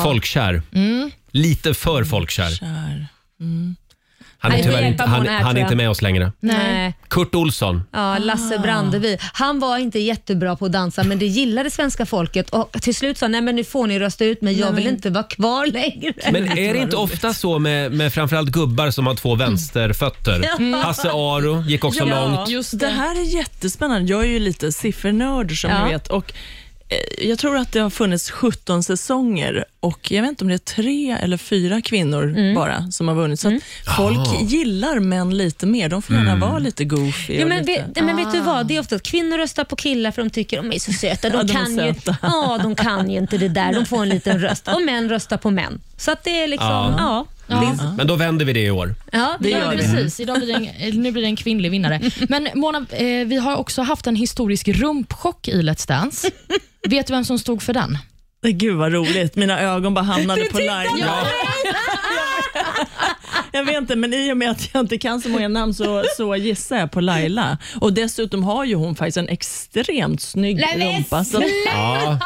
A: Folkkär.
F: Mm.
A: Lite för folkkär. Mm. Han är
D: Nej, vi
A: tyvärr inte,
D: hjälper
A: han,
D: Mona här,
A: han är
D: tror
A: inte
D: jag.
A: med oss längre.
D: Nej.
A: Kurt Olsson.
D: Ja,
K: Ah.
D: Lasse Brandeby. Han var inte jättebra på att dansa, men det gillade svenska folket och till slut sa nej men nu får ni rösta ut mig, jag vill inte vara kvar längre.
A: Men är det inte ofta så med, med framförallt gubbar som har två
D: Mm.
A: vänsterfötter?
K: Mm.
A: Hasse Aro gick också långt.
K: Just det. här är jättespännande. Jag är ju lite siffernörd som
A: Ja.
K: ni vet. Och eh, jag tror att det har funnits 17 säsonger och jag vet inte om det är tre eller fyra kvinnor
D: Mm.
K: bara som har vunnit. Så att folk
D: Jaha.
K: gillar män lite mer. De får gärna
D: Mm.
K: vara lite goofy.
D: Ja,
K: och
D: men,
K: lite...
D: vet, nej, men vet du vad, det är ofta att kvinnor röstar på killar för de tycker de är så söta. De,
K: Ah. Ja, de är
D: kan, ju,
K: söta.
D: ja, de kan ju inte det där, de får en liten röst. Och män röstar på män. Så att det är liksom, ja. ja.
A: Men då vänder vi det i år.
D: Ja,
F: det
D: det
F: gör
D: gör vi.
F: precis. Idag blir det en, nu blir det en kvinnlig vinnare. Men Mona, eh, vi har också haft en historisk rumpchock i Let's Dance. Vet du vem som stod för den?
K: Nej, Gud vad roligt. Mina ögon bara hamnade på Laila.
F: Ja.
K: Jag vet inte, men i och med att jag inte kan så många namn så, så gissar jag på Laila. Och Dessutom har ju hon faktiskt en extremt snygg
B: Nej, men
K: rumpa. Så,
B: sluta!
A: Ja.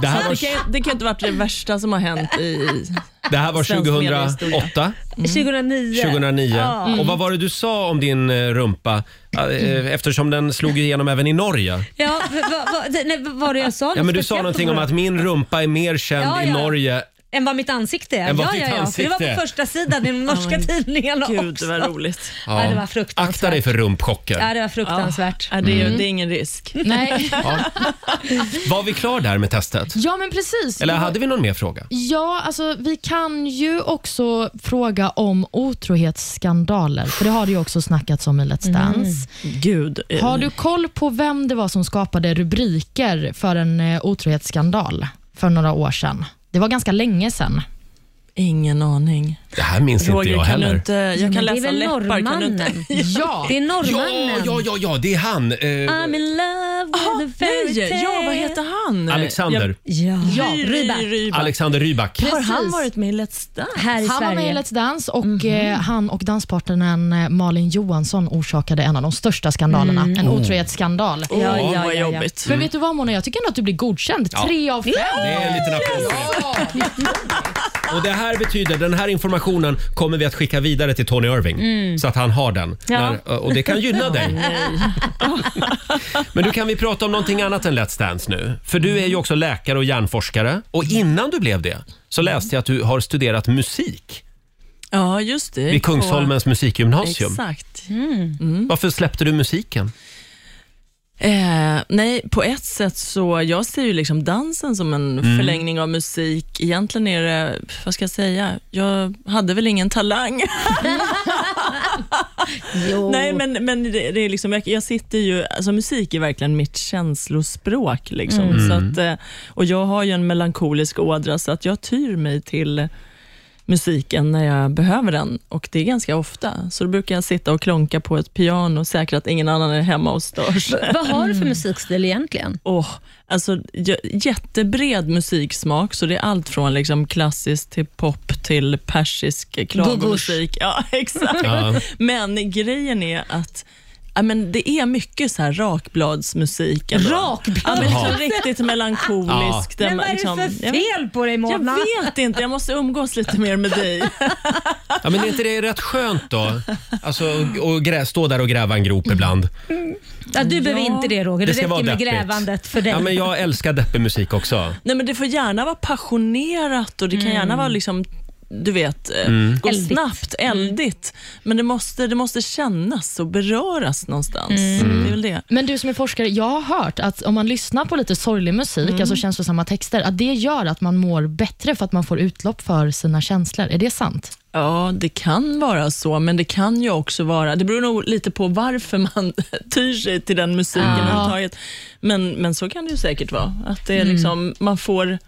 A: Det här
K: så
A: var-
K: det, kan, ju- det kan ju inte varit det värsta som har hänt i...
A: Det här var
K: Svensk mediehistoria.
A: 2008.
K: Mm.
D: 2009.
A: 2009.
K: Ja. Mm.
A: Och vad var det du sa om din eh, rumpa? Eh,
D: Mm.
A: eh, Eftersom den slog igenom även i Norge.
D: Ja, vad va, va, nej, vad var det jag sa?
A: Ja, men du
D: Speciellt
A: sa någonting
D: om
A: om att min rumpa är mer känd
D: Ja,
A: i
D: ja.
A: Norge
D: än vad mitt ansikte är.
A: Än vad
D: ja,
A: ditt
D: ja, ja. För Det var
A: ansikte är.
D: på första sidan i de norska tidningarna
K: Gud,
D: också.
K: vad roligt.
D: Ja. det var fruktansvärt.
A: Akta dig för rumpchocker.
D: Ja, det var fruktansvärt.
K: Ja, ja, det, är, ju-
A: Mm.
K: det är ingen risk.
F: Nej.
A: Ja. Var vi klar där med testet?
F: Ja, men precis.
A: Eller hade vi någon mer fråga?
F: Ja, alltså vi kan ju också fråga om otrohetsskandaler, för det har det ju också snackats om i Let's Dance.
K: Gud. eh,
F: Har du koll på vem det var som skapade rubriker för en eh, otrohetsskandal för några år sedan? Det var ganska länge sedan.
K: Ingen aning.
A: Det här minns
K: Roger,
A: inte jag
K: kan
A: heller.
K: Du inte, jag
D: men
K: kan
D: det är
K: läsa
D: väl
K: läppar. Kan du inte?
D: norrmannen. Ja. Det är norrmannen.
A: Ja, ja, ja, ja det är han. Eh,
D: I'm in love with a fairy
K: nej,
D: tale.
K: ja, vad heter han?
A: Alexander.
D: Ja,
K: Ja, Ry-
D: Ryback.
A: Alexander Rybak.
K: Har han
F: Precis.
K: varit med i Let's Dance?
D: Här i
F: han var med i
D: Sverige. Mhm.
F: Let's Dance och eh, han och danspartnern eh, Malin Johansson orsakade en av de största skandalerna.
K: Mm.
F: En
K: Oh.
F: otrohetsskandal.
K: Ja, ja, Åh, vad ja, ja. jobbigt.
F: Men
K: Mm.
F: vet du vad Mona, jag tycker ändå att du blir godkänd. Tre av fem.
A: Det
C: É,
A: är en liten applåd. Och det här betyder, den här informationen kommer vi att skicka vidare till Tony Irving.
B: Mm.
A: Så att han har den.
B: Ja.
A: När, och det kan gynna dig.
B: Nej.
A: Men du kan vi prata om någonting annat än Let's Dance nu? För du är ju också läkare och hjärnforskare. Och innan du blev det så läste jag att du har studerat musik
K: Ja, just det.
A: vid Kungsholmens musikgymnasium.
K: Exakt. Mm.
A: Varför släppte du musiken?
K: Eh, nej, på ett sätt så, jag ser ju liksom dansen som en
A: Mm.
K: förlängning av musik. Egentligen är det, vad ska jag säga, jag hade väl ingen talang. Nej, men, men det, det är liksom, jag, jag sitter ju, alltså musik är verkligen mitt känslospråk. Liksom.
B: Mm.
K: Så att, eh, och jag har ju en melankolisk ådra, så att jag tyr mig till musiken när jag behöver den och det är ganska ofta. Så då brukar jag sitta och klonka på ett piano och säkra att ingen annan är hemma och störs.
D: V- Vad har du för musikstil egentligen?
K: Åh, alltså, j- jättebred musiksmak, så det är allt från liksom klassiskt till pop till persisk klagomusik. Ja, exakt.
B: Ja.
K: Men grejen är att Ja, men det är mycket så här rakbladsmusik. ändå.
D: Rakblads?
K: Ja, men
B: Jaha.
K: liksom riktigt melankoliskt.
B: Ja.
K: där
B: Men
K: man
B: vad är det
K: liksom-
B: för
K: Jag vet-
D: fel på dig, Mona?
K: Jag vet inte, jag måste umgås lite mer med dig.
A: Ja, men är inte det rätt skönt då? Alltså, och grä, stå där och gräva en grop ibland.
D: Ja, du behöver inte det Roger, det,
A: Det ska vara
D: räcker med
A: deppigt.
D: grävandet för dig.
A: Ja, men jag älskar deppig musik också.
K: Nej, men det får gärna vara passionerat och det kan gärna
D: Mm.
K: vara liksom du vet, eh,
A: Mm.
K: gå
A: Eldigt.
K: snabbt, eldigt. Men det måste, det måste kännas och beröras någonstans.
F: Mm.
K: Det är väl det.
F: Men du som är forskare, jag har hört att om man lyssnar på lite sorglig musik,
K: Mm.
F: alltså känslosamma texter, att det gör att man mår bättre för att man får utlopp för sina känslor. Är det sant?
K: Ja, det kan vara så, men det kan ju också vara... Det beror nog lite på varför man tyr sig till den musiken
F: Ja.
K: överhuvudtaget. Men, men så kan det ju säkert vara. Att det är
F: Mm.
K: liksom, man får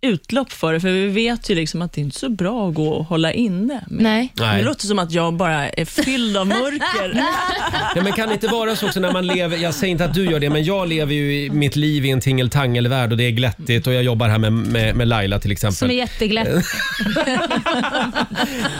K: utlopp för det, för vi vet ju liksom att det är inte är så bra att gå och hålla inne. Men
F: Nej.
A: Nej.
K: Det låter som att jag bara är fylld av mörker.
A: Ja, men kan det inte vara så också när man lever, jag säger inte att du gör det, men jag lever ju i mitt liv i en tingeltangelvärld och det är glättigt och jag jobbar här med, med, med Laila till exempel.
D: Som är jätteglätt.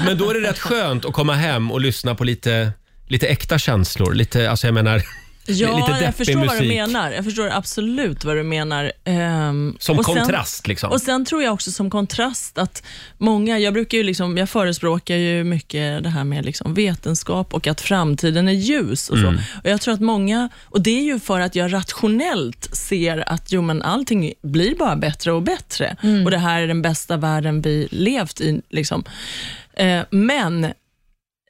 A: Men då är det rätt skönt att komma hem och lyssna på lite, lite äkta känslor. Lite, alltså jag menar,
K: Ja,
A: lite deppig
K: jag förstår
A: musik.
K: vad du menar. Jag förstår absolut vad du menar. Ehm,
A: Som
K: och sen-
A: kontrast, liksom.
K: Och sen tror jag också som kontrast att många, jag brukar ju liksom, jag förespråkar ju mycket det här med liksom vetenskap och att framtiden är ljus och så.
B: Mm.
K: Och jag tror att många, och det är ju för att jag rationellt ser att jo men allting blir bara bättre och bättre. Och det här är den bästa världen vi levt i liksom. Eh, men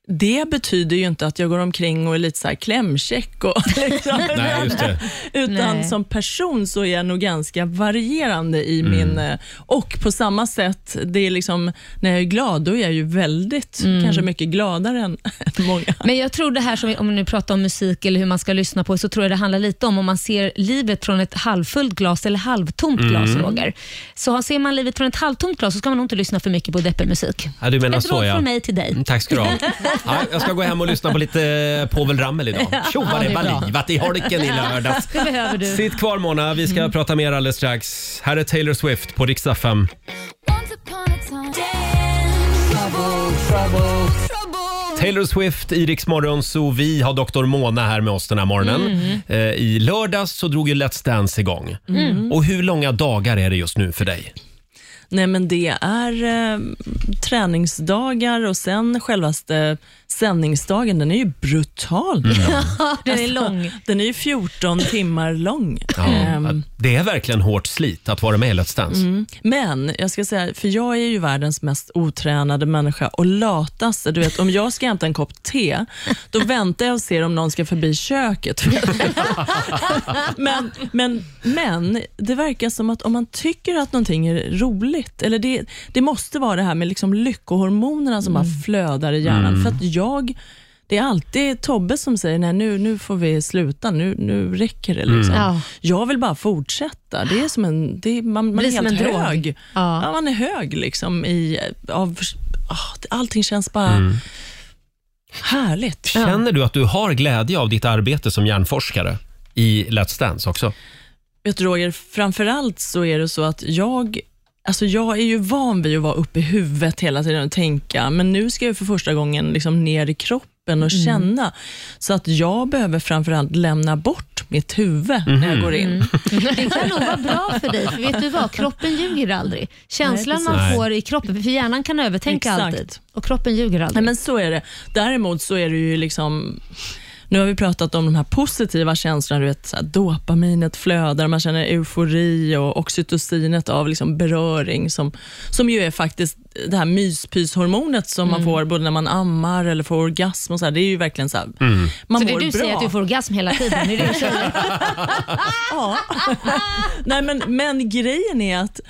K: det betyder ju inte att jag går omkring och är lite så här klämkäck. Och liksom,
B: Nej, just det.
K: Utan
B: Nej.
K: som person så är jag nog ganska varierande
B: Mm.
K: i min... eh, Och på samma sätt, det är liksom, när jag är glad, då är jag ju väldigt, kanske mycket gladare än, än många.
D: Men jag tror det här, som vi, om vi nu pratar om musik eller hur man ska lyssna på, så tror jag det handlar lite om om man ser livet från ett halvfullt glas eller halvtomt
A: Mm.
D: glas, Roger. Så har- ser man livet från ett halvtomt glas så ska man nog inte lyssna för mycket på deppig musik.
A: Ja, du menar
D: Ett
A: så
D: råd
A: ja.
D: från mig till dig.
A: Mm, Tack ska du ha. Ja, jag ska gå hem och lyssna på lite Povel Ramel idag. Tjo
D: Ja,
A: vad
D: det
A: det
D: är bra.
A: var livat i holken i lördags.
D: Det behöver du. Mm.
A: Sitt kvar Mona, vi ska prata mer alldeles strax. Här är Taylor Swift på riksdag 5. Taylor Swift, Iriks morgonzoo. Vi har Dr. Mona här med oss den här morgonen.
B: Mm.
A: Eh, I lördags så drog ju Let's Dance igång.
K: Mm.
A: Och hur långa dagar är det just nu för dig?
K: Nej, men det är eh, träningsdagar och sen självaste sändningsdagen, den är ju brutal.
D: Den är lång.
K: Den är ju 14 timmar lång.
A: Ja,
K: Ehm,
A: Det är verkligen hårt slit att vara med i Let's Dance.
K: Mm. Men jag ska säga, för jag är ju världens mest otränade människa och lataste. Du vet, om jag ska hämta en kopp te, då väntar jag och ser om någon ska förbi köket. men, men, men det verkar som att om man tycker att någonting är roligt, eller det, det måste vara det här med liksom lyckohormonerna som bara flödar i hjärnan.
O: Mm.
K: För att jag... Det är alltid Tobbe som säger nej nu, nu får vi sluta, nu, nu räcker det. Liksom.
O: Mm. Ja.
K: Jag vill bara fortsätta. Det är som en, det är, man, man
D: Blir
K: är
D: som
K: helt
D: en drog.
K: hög. Ja. man är hög liksom i, av, ah, allting känns bara härligt.
A: Mm. Känner du att du har glädje av ditt arbete som hjärnforskare i Let's Dance också?
K: Vet du Roger, framförallt så är det så att jag Alltså jag är ju van vid att vara uppe i huvudet hela tiden och tänka, men nu ska jag för första gången liksom ner i kroppen och
O: Mm.
K: känna. Så att jag behöver framförallt lämna bort mitt huvud när jag
O: Mhm.
K: går in.
D: Mm. Det kan nog vara bra för dig, för vet du vad? Kroppen ljuger aldrig. Känslan
K: Nej, precis.
D: man får i kroppen, för hjärnan kan övertänka
K: Exakt.
D: alltid och kroppen ljuger aldrig.
K: Nej, men så är det. Däremot så är det ju liksom nu har vi pratat om de här positiva känslorna, du vet, så här, dopaminet flödar, man känner eufori och oxytocinet av liksom beröring, som, som ju är faktiskt det här myspyshormonet som man
D: Mm.
K: får både när man ammar eller får orgasm. Och så här, det är ju verkligen så här, man
D: så det
K: mår
D: du
K: bra.
D: säger att du får orgasm hela tiden? Är det du säger?
K: Ja. Nej, men, men grejen är att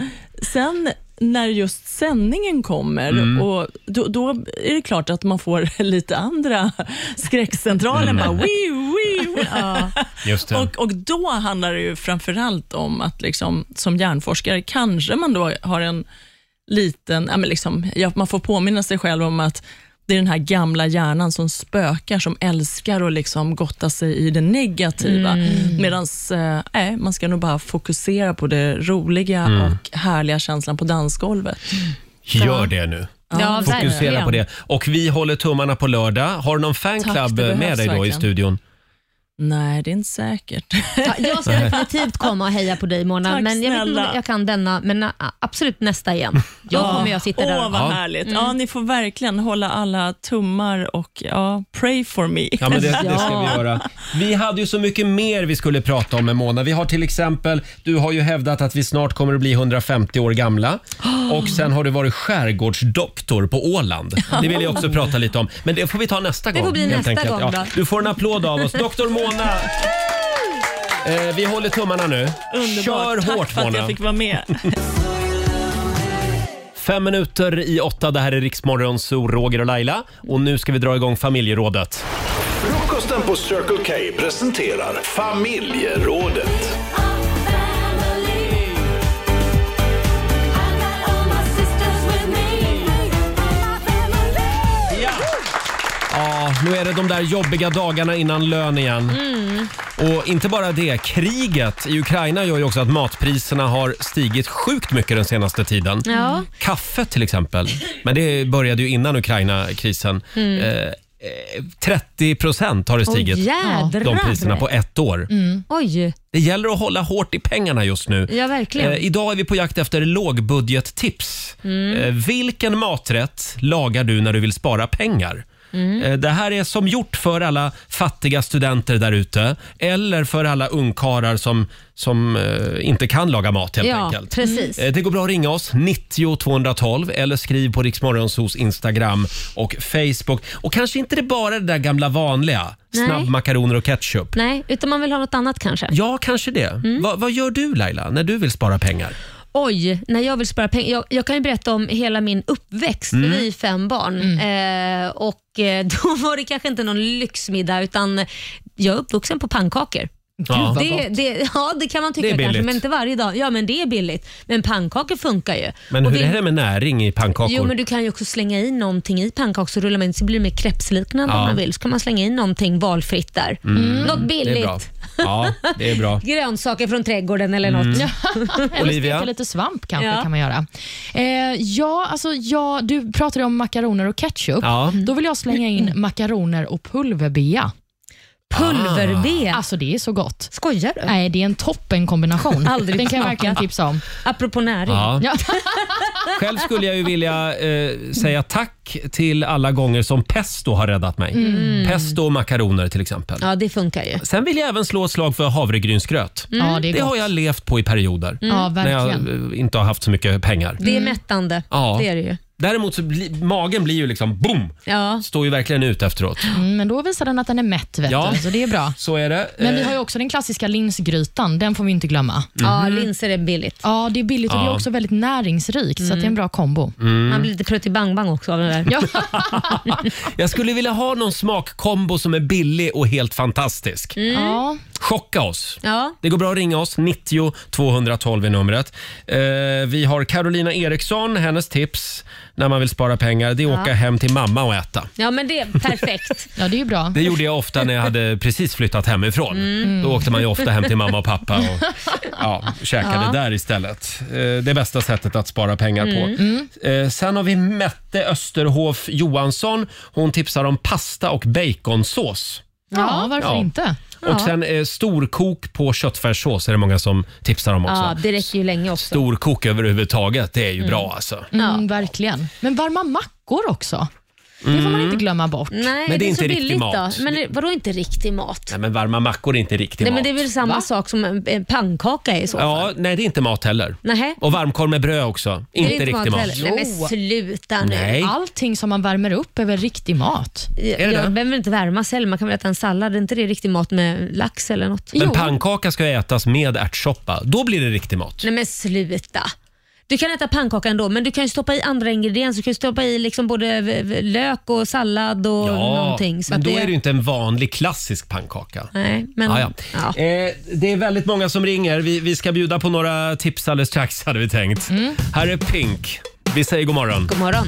K: sen när just sändningen kommer,
O: Mm.
K: och då, då är det klart att man får lite andra skräckcentralen.
O: Mm.
K: Bara, wii, wii, wii.
A: Just det.
K: Och, och då handlar det ju framförallt om att liksom, som hjärnforskare kanske man då har en liten, ja, men liksom, ja, man får påminna sig själv om att det är den här gamla hjärnan som spökar, som älskar att liksom gotta sig i det negativa.
O: Mm.
K: Medan eh, man ska nog bara fokusera på det roliga
A: Mm.
K: och härliga känslan på dansgolvet.
A: Gör det nu.
K: Ja,
A: Fokusera
K: verkligen.
A: på det. Och vi håller tummarna på lördag. Har du någon
K: Tack,
A: fanclub
K: det behövs
A: med dig då i
K: verkligen.
A: studion?
K: Nej, det är inte säkert.
D: Ja, jag ska definitivt komma och heja på dig Mona.
K: Tack
D: men jag, vet inte om
K: snälla.
D: jag kan denna, men ä, absolut nästa igen. Då
K: Ja.
D: kommer jag sitta
K: Åh,
D: där. Mm.
K: vad härligt. Ja, ni får verkligen hålla alla tummar och ja, pray for me.
A: Ja, men det, det ska vi göra. Vi hade ju så mycket mer vi skulle prata om med Mona. Vi har till exempel, du har ju hävdat att vi snart kommer att bli 150 år gamla. Och sen har du varit skärgårdsdoktor på Åland. Det vill jag också prata lite om. Men det får vi ta nästa
O: Det
A: gång.
O: får bli
A: helt
O: nästa
A: enkelt.
O: gång då.
A: Du får en applåd av oss. Doktor Mona! Eh, vi håller tummarna nu.
K: Underbart.
A: Kör
K: Tack
A: hårt
K: för att
A: Mona.
K: jag fick vara med.
A: Fem minuter i åtta. Det här är Riksmorgon, så Roger och Laila. Och nu ska vi dra igång familjerådet.
P: Frukosten på Circle K presenterar familjerådet.
A: Ja, nu är det de där jobbiga dagarna innan lön igen.
O: Mm.
A: Och inte bara det, kriget i Ukraina gör ju också att matpriserna har stigit sjukt mycket den senaste tiden.
D: Ja.
A: Kaffe till exempel, men det började ju innan Ukraina-krisen.
D: Mm.
A: Eh, eh, 30 procent har det
D: Åh,
A: stigit,
D: jädrar.
A: de priserna, på ett år.
D: Mm. Oj,
A: Det gäller att hålla hårt i pengarna just nu.
D: ja verkligen.
A: Eh, idag är vi på jakt efter lågbudgettips.
D: Mm.
A: Eh, vilken maträtt lagar du när du vill spara pengar?
O: Mm.
A: Eh, Det här är som gjort för alla fattiga studenter där ute eller för alla ungkarlar som, som eh, inte kan laga mat helt
O: Ja,
A: enkelt.
O: precis.
A: Eh, Det går bra att ringa oss, 90 212 eller skriv på Riksmorgonsos Instagram och Facebook. Och kanske inte det bara det där gamla vanliga,
D: Nej.
A: snabbmakaroner och ketchup.
D: Nej, utan man vill ha något annat kanske.
A: Ja, kanske det.
D: Mm.
A: Va, vad gör du Laila när du vill spara pengar?
D: Oj, när jag vill spara pengar. Jag, jag kan ju berätta om hela min uppväxt.
A: Mm.
D: Vi är fem barn eh, och eh, då var det kanske inte någon lyxmiddag utan jag är uppvuxen på pannkakor.
O: Ja. vad
D: Det,
O: gott.
D: det, ja, det kan man
A: Det
D: tycka
A: är
D: kanske,
A: billigt.
D: men inte varje dag. Ja, men det är billigt. Men pannkakor funkar ju.
A: Men
D: Och
A: hur
D: vi-
A: är det med näring i pannkakor?
D: Jo, men du kan ju också slänga i någonting i pannkakor så rullar man in så blir det mer krepsliknande
A: Ja.
D: om man vill. Så kan man slänga in någonting valfritt där.
A: Mm.
D: Något
A: Det är bra.
D: billigt.
A: Ja, det är bra.
D: Grönsaker från trädgården eller
A: Mm.
D: något.
F: Eller
A: Olivia?
F: steka lite svamp kanske
D: Ja.
F: kan man göra. Eh, ja, alltså, ja, du
D: Mm.
F: pratade om makaroner och ketchup.
A: Ja.
F: Då vill jag slänga in makaroner och pulverbea.
D: Pulverved.
F: Alltså det är så gott.
D: Skojar du?
F: Nej, det är en toppenkombination.
D: Aldrig
F: Den kan jag
D: smakat.
F: verkligen tipsa om.
D: Apropå näring.
A: Ja. Själv skulle jag ju vilja eh, säga tack till alla gånger som pesto har räddat mig.
D: Mm.
A: Pesto och makaroner till exempel.
D: Ja, det funkar ju.
A: Sen vill jag även slå ett slag för havregrynsgröt.
D: Mm. Ja, det är gott.
A: har jag levt på i perioder.
D: Mm. Ja,
A: När jag
D: verkligen.
A: eh, inte har haft så mycket pengar.
D: Det är
F: Mm.
D: mättande.
A: Ja.
D: Det är det ju.
A: Däremot så bli, magen blir ju liksom boom!
D: Ja.
A: Står ju verkligen ut efteråt.
F: Mm, men då visar den att den är mätt, vet
A: Ja.
F: du, så det är bra.
A: Så är det.
F: Men vi
A: Eh,
F: har ju också den klassiska linsgrytan. Den får vi inte glömma.
A: Ja, Mhm.
D: linser är billigt.
F: Ja, det är billigt och det
A: Ja.
F: är också väldigt näringsrikt, så att det är en bra kombo.
A: Mm. Man blir
D: lite prutt-i-bang-bang också av den där.
F: Ja.
A: Jag skulle vilja ha någon smakkombo som är billig och helt fantastisk.
D: Mm.
F: Ja.
A: Chocka oss!
D: Ja.
A: Det går bra att ringa oss, 90 212 är numret. Eh, vi har Carolina Eriksson, hennes tips när man vill spara pengar, det är att
D: Ja.
A: åka hem till mamma och äta.
D: ja, men det är perfekt.
F: ja, det är ju bra.
A: Det gjorde jag ofta när jag hade precis flyttat hemifrån.
D: Mm.
A: Då åkte man ju ofta hem till mamma och pappa och ja, käkade
D: Ja.
A: där istället. Eh, Det bästa sättet att spara pengar på.
B: Mm.
A: Eh, Sen har vi Mette Österhof Johansson. Hon tipsar om pasta och baconsås.
F: Ja, varför
A: Ja.
F: inte?
A: Och sen eh, storkok på köttfärssås är det många som tipsar om också.
D: Ja, det räcker ju länge också.
A: Storkok överhuvudtaget, det är ju
D: Mm.
A: bra alltså.
F: Mm, verkligen. Men varma mackor också. Det får man
A: Mm.
F: inte glömma bort.
D: Nej,
A: Men det är
D: det är
A: inte
D: så
A: riktig
D: billigt
A: mat.
D: då. Men det- vadå inte riktig mat?
A: Nej, men varma mackor är inte riktigt
D: Nej,
A: mat.
D: men det är väl samma sak som en, en pannkaka i så fall?
A: Ja, nej det är inte mat heller.
D: Nähä.
A: Och varmkorv med bröd också. Inte,
D: det är
A: riktig mat.
D: heller. Nej, men sluta nu.
A: Nej.
F: Allting som man värmer upp är väl riktig mat?
D: Jag,
A: Är det det?
D: jag behöver inte värma sig heller. Man kan väl äta en sallad? Är inte det riktig mat med lax eller något?
A: Men pannkaka ska ätas med ärtsoppa. Då blir det riktig mat.
D: Nej men sluta. Du kan äta pannkaka ändå, men du kan ju stoppa i andra ingredienser. Du kan ju stoppa i liksom både v- v- lök och sallad och någonting. Så
A: men
D: att
A: då är det ju inte en vanlig klassisk pannkaka.
D: Nej, men-
A: Ah, ja. Eh, det är väldigt många som ringer. Vi, vi ska bjuda på några tips alldeles strax hade vi tänkt.
D: Mm.
A: Här är Pink. Vi säger god morgon.
D: God morgon.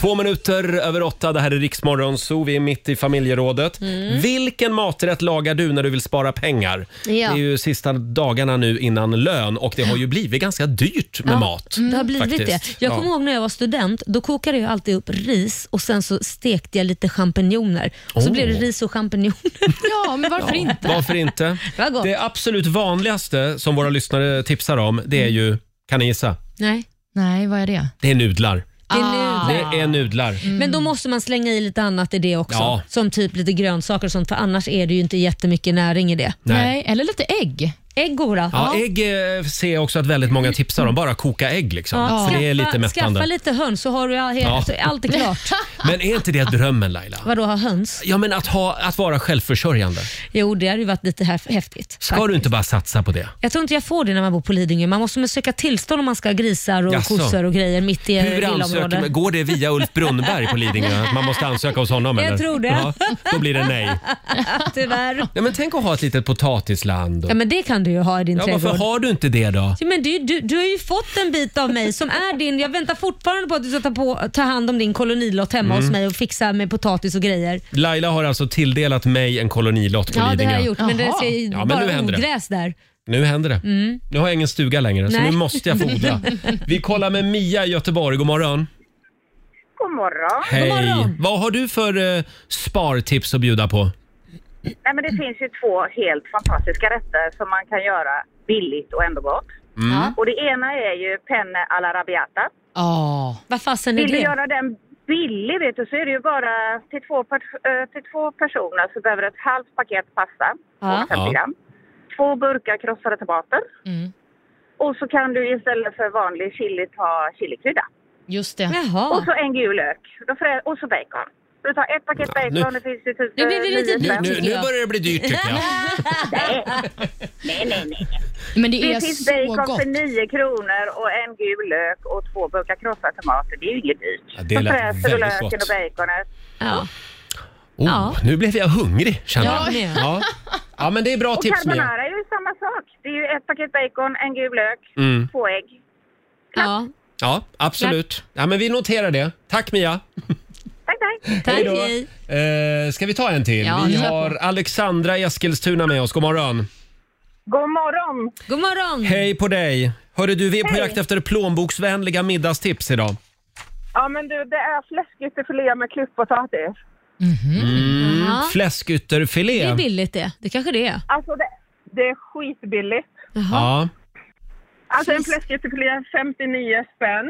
A: Två minuter över åtta, det här är Riksmorgon Zoo. Vi är mitt i familjerådet.
D: Mm.
A: Vilken maträtt lagar du när du vill spara pengar?
D: Ja.
A: Det är ju sista dagarna nu innan lön och det har ju blivit ganska dyrt med
D: Ja, Mm.
A: mat.
D: Det har blivit
A: faktiskt.
D: det. Jag
A: Ja.
D: kommer ihåg när jag var student, då kokade jag alltid upp ris och sen så stekte jag lite champinjoner. Och Så
A: Åh.
D: blev det ris och champinjoner.
F: Ja, men varför inte?
A: Varför inte?
D: Vad gott.
A: Det absolut vanligaste som våra lyssnare tipsar om, det är ju, kan ni gissa?
D: Nej.
F: Nej, vad är det? Ah.
A: Det är nudlar.
D: Det är Ah. nudlar. Mm.
A: Det är nudlar.
D: Men då måste man slänga i lite annat i det också.
A: Ja.
D: Som typ lite grönsaker och sånt, för annars är det ju inte jättemycket näring i det.
A: Nej. Nej,
F: eller lite ägg.
D: Ägg går bra.
A: Ja, ägg eh, ser jag också att väldigt många tipsar om. Bara koka ägg liksom.
D: Ja,
A: För det är lite
D: skaffa, skaffa
A: mättande.
D: lite höns så har du all,
A: Ja.
D: så är allt är klart.
A: Men är inte det drömmen Laila?
D: Vadå ha höns?
A: Ja, men att, ha, att vara självförsörjande.
D: Jo, det hade ju varit lite här, häftigt.
A: Ska du inte bara satsa på det?
D: Jag tror inte jag får det när man bor på Lidingö. Man måste söka tillstånd om man ska ha grisar och
A: Jaså?
D: kossor och grejer mitt i eh,
A: Hur ansöker man?
D: villaområdet.
A: Går det via Ulf Brunnberg på Lidingö? Att man måste ansöka hos honom?
D: Jag
A: eller?
D: tror det.
A: Ja, då blir det nej.
D: Tyvärr.
A: Ja, men tänk att ha ett litet potatisland. Och...
D: Ja, men det kan du ju ha i din
A: Ja,
D: trädgård.
A: varför har du inte det då?
D: Ja, men du, du, du har ju fått en bit av mig som är din. Jag väntar fortfarande på att du ska ta, på, ta hand om din kolonilott hemma
A: Mm.
D: hos mig och fixa med potatis och grejer.
A: Laila har alltså tilldelat mig en kolonilott på
D: Ja, det
A: Lidingö.
D: har jag gjort, men det ser ju
A: Ja, men nu
D: bara
A: händer det.
D: ogräs där.
A: Nu händer det.
D: Mm.
A: Nu har jag ingen stuga längre, så
D: Nej.
A: nu måste jag fodra. Vi kollar med Mia i Göteborg. God morgon.
M: God morgon.
A: Hej! Vad har du för eh, spartips att bjuda på?
M: Nej, men det finns ju två helt fantastiska rätter som man kan göra billigt och ändå gott.
A: Mm.
M: Och det ena är ju penne alla rabiata.
F: Ja.
D: Vad fasen är
M: Vill du
D: det?
M: göra den billig vet du, så är det ju bara till två, per- eh, till två personer så behöver du ett halvt paket pasta,
B: Ja.
M: 250
B: Ja.
M: gram. Två burkar krossade tomater.
D: Mm.
M: Och så kan du istället för vanlig chili ta chilikrydda.
F: Just det.
M: Och så en gul lök. Då frä- Och så bacon. Så du tar ett paket bacon,
A: nu-
M: det finns ju typ...
D: Nu blir det
M: eh,
D: lite
M: nio
D: dyrt,
M: spänn.
A: Nu, nu börjar det bli dyrt tycker jag.
M: Nej, nej, nej.
F: Men det, är
M: finns
F: så
M: bacon
F: gott.
M: för 9 kronor och en gul lök och två burkar krossade tomater. Det är ju inget dyrt.
A: Ja, det
M: så
A: lät
M: fräser du
A: väldigt
M: löken
A: gott.
M: och baconet.
D: Ja.
A: Oh,
M: Ja.
A: Nu blev jag hungrig känner
M: Ja,
A: jag.
M: det är jag.
A: Ja. ja, men det är bra
M: och
A: tips Mia.
M: carbonara är ju samma sak. Det är ju ett paket bacon, en gul lök,
A: Mm.
M: två ägg.
D: Ja.
A: Ja, absolut. Ja, men vi noterar det. Tack Mia.
M: Tack, tack.
D: Tack.
A: då.
D: hej.
A: Eh, ska vi ta en till?
D: Ja,
A: vi
D: kör på.
A: har Alexandra i Eskilstuna med oss. God morgon.
D: Mm.
M: God morgon.
D: God morgon.
A: Hej på dig. Hörru du, vi är på
M: Hej.
A: jakt efter plånboksvänliga middagstips idag.
M: Ja, men du, det är fläskytterfilé med klyftpotatis.
A: Mm.
D: Mhm. Jaha.
A: Fläskytterfilé.
D: Det är billigt det. Det kanske det är.
M: Alltså det, det är skitbilligt.
A: Ja.
M: Alltså en fläskytterfilé är 59 spänn.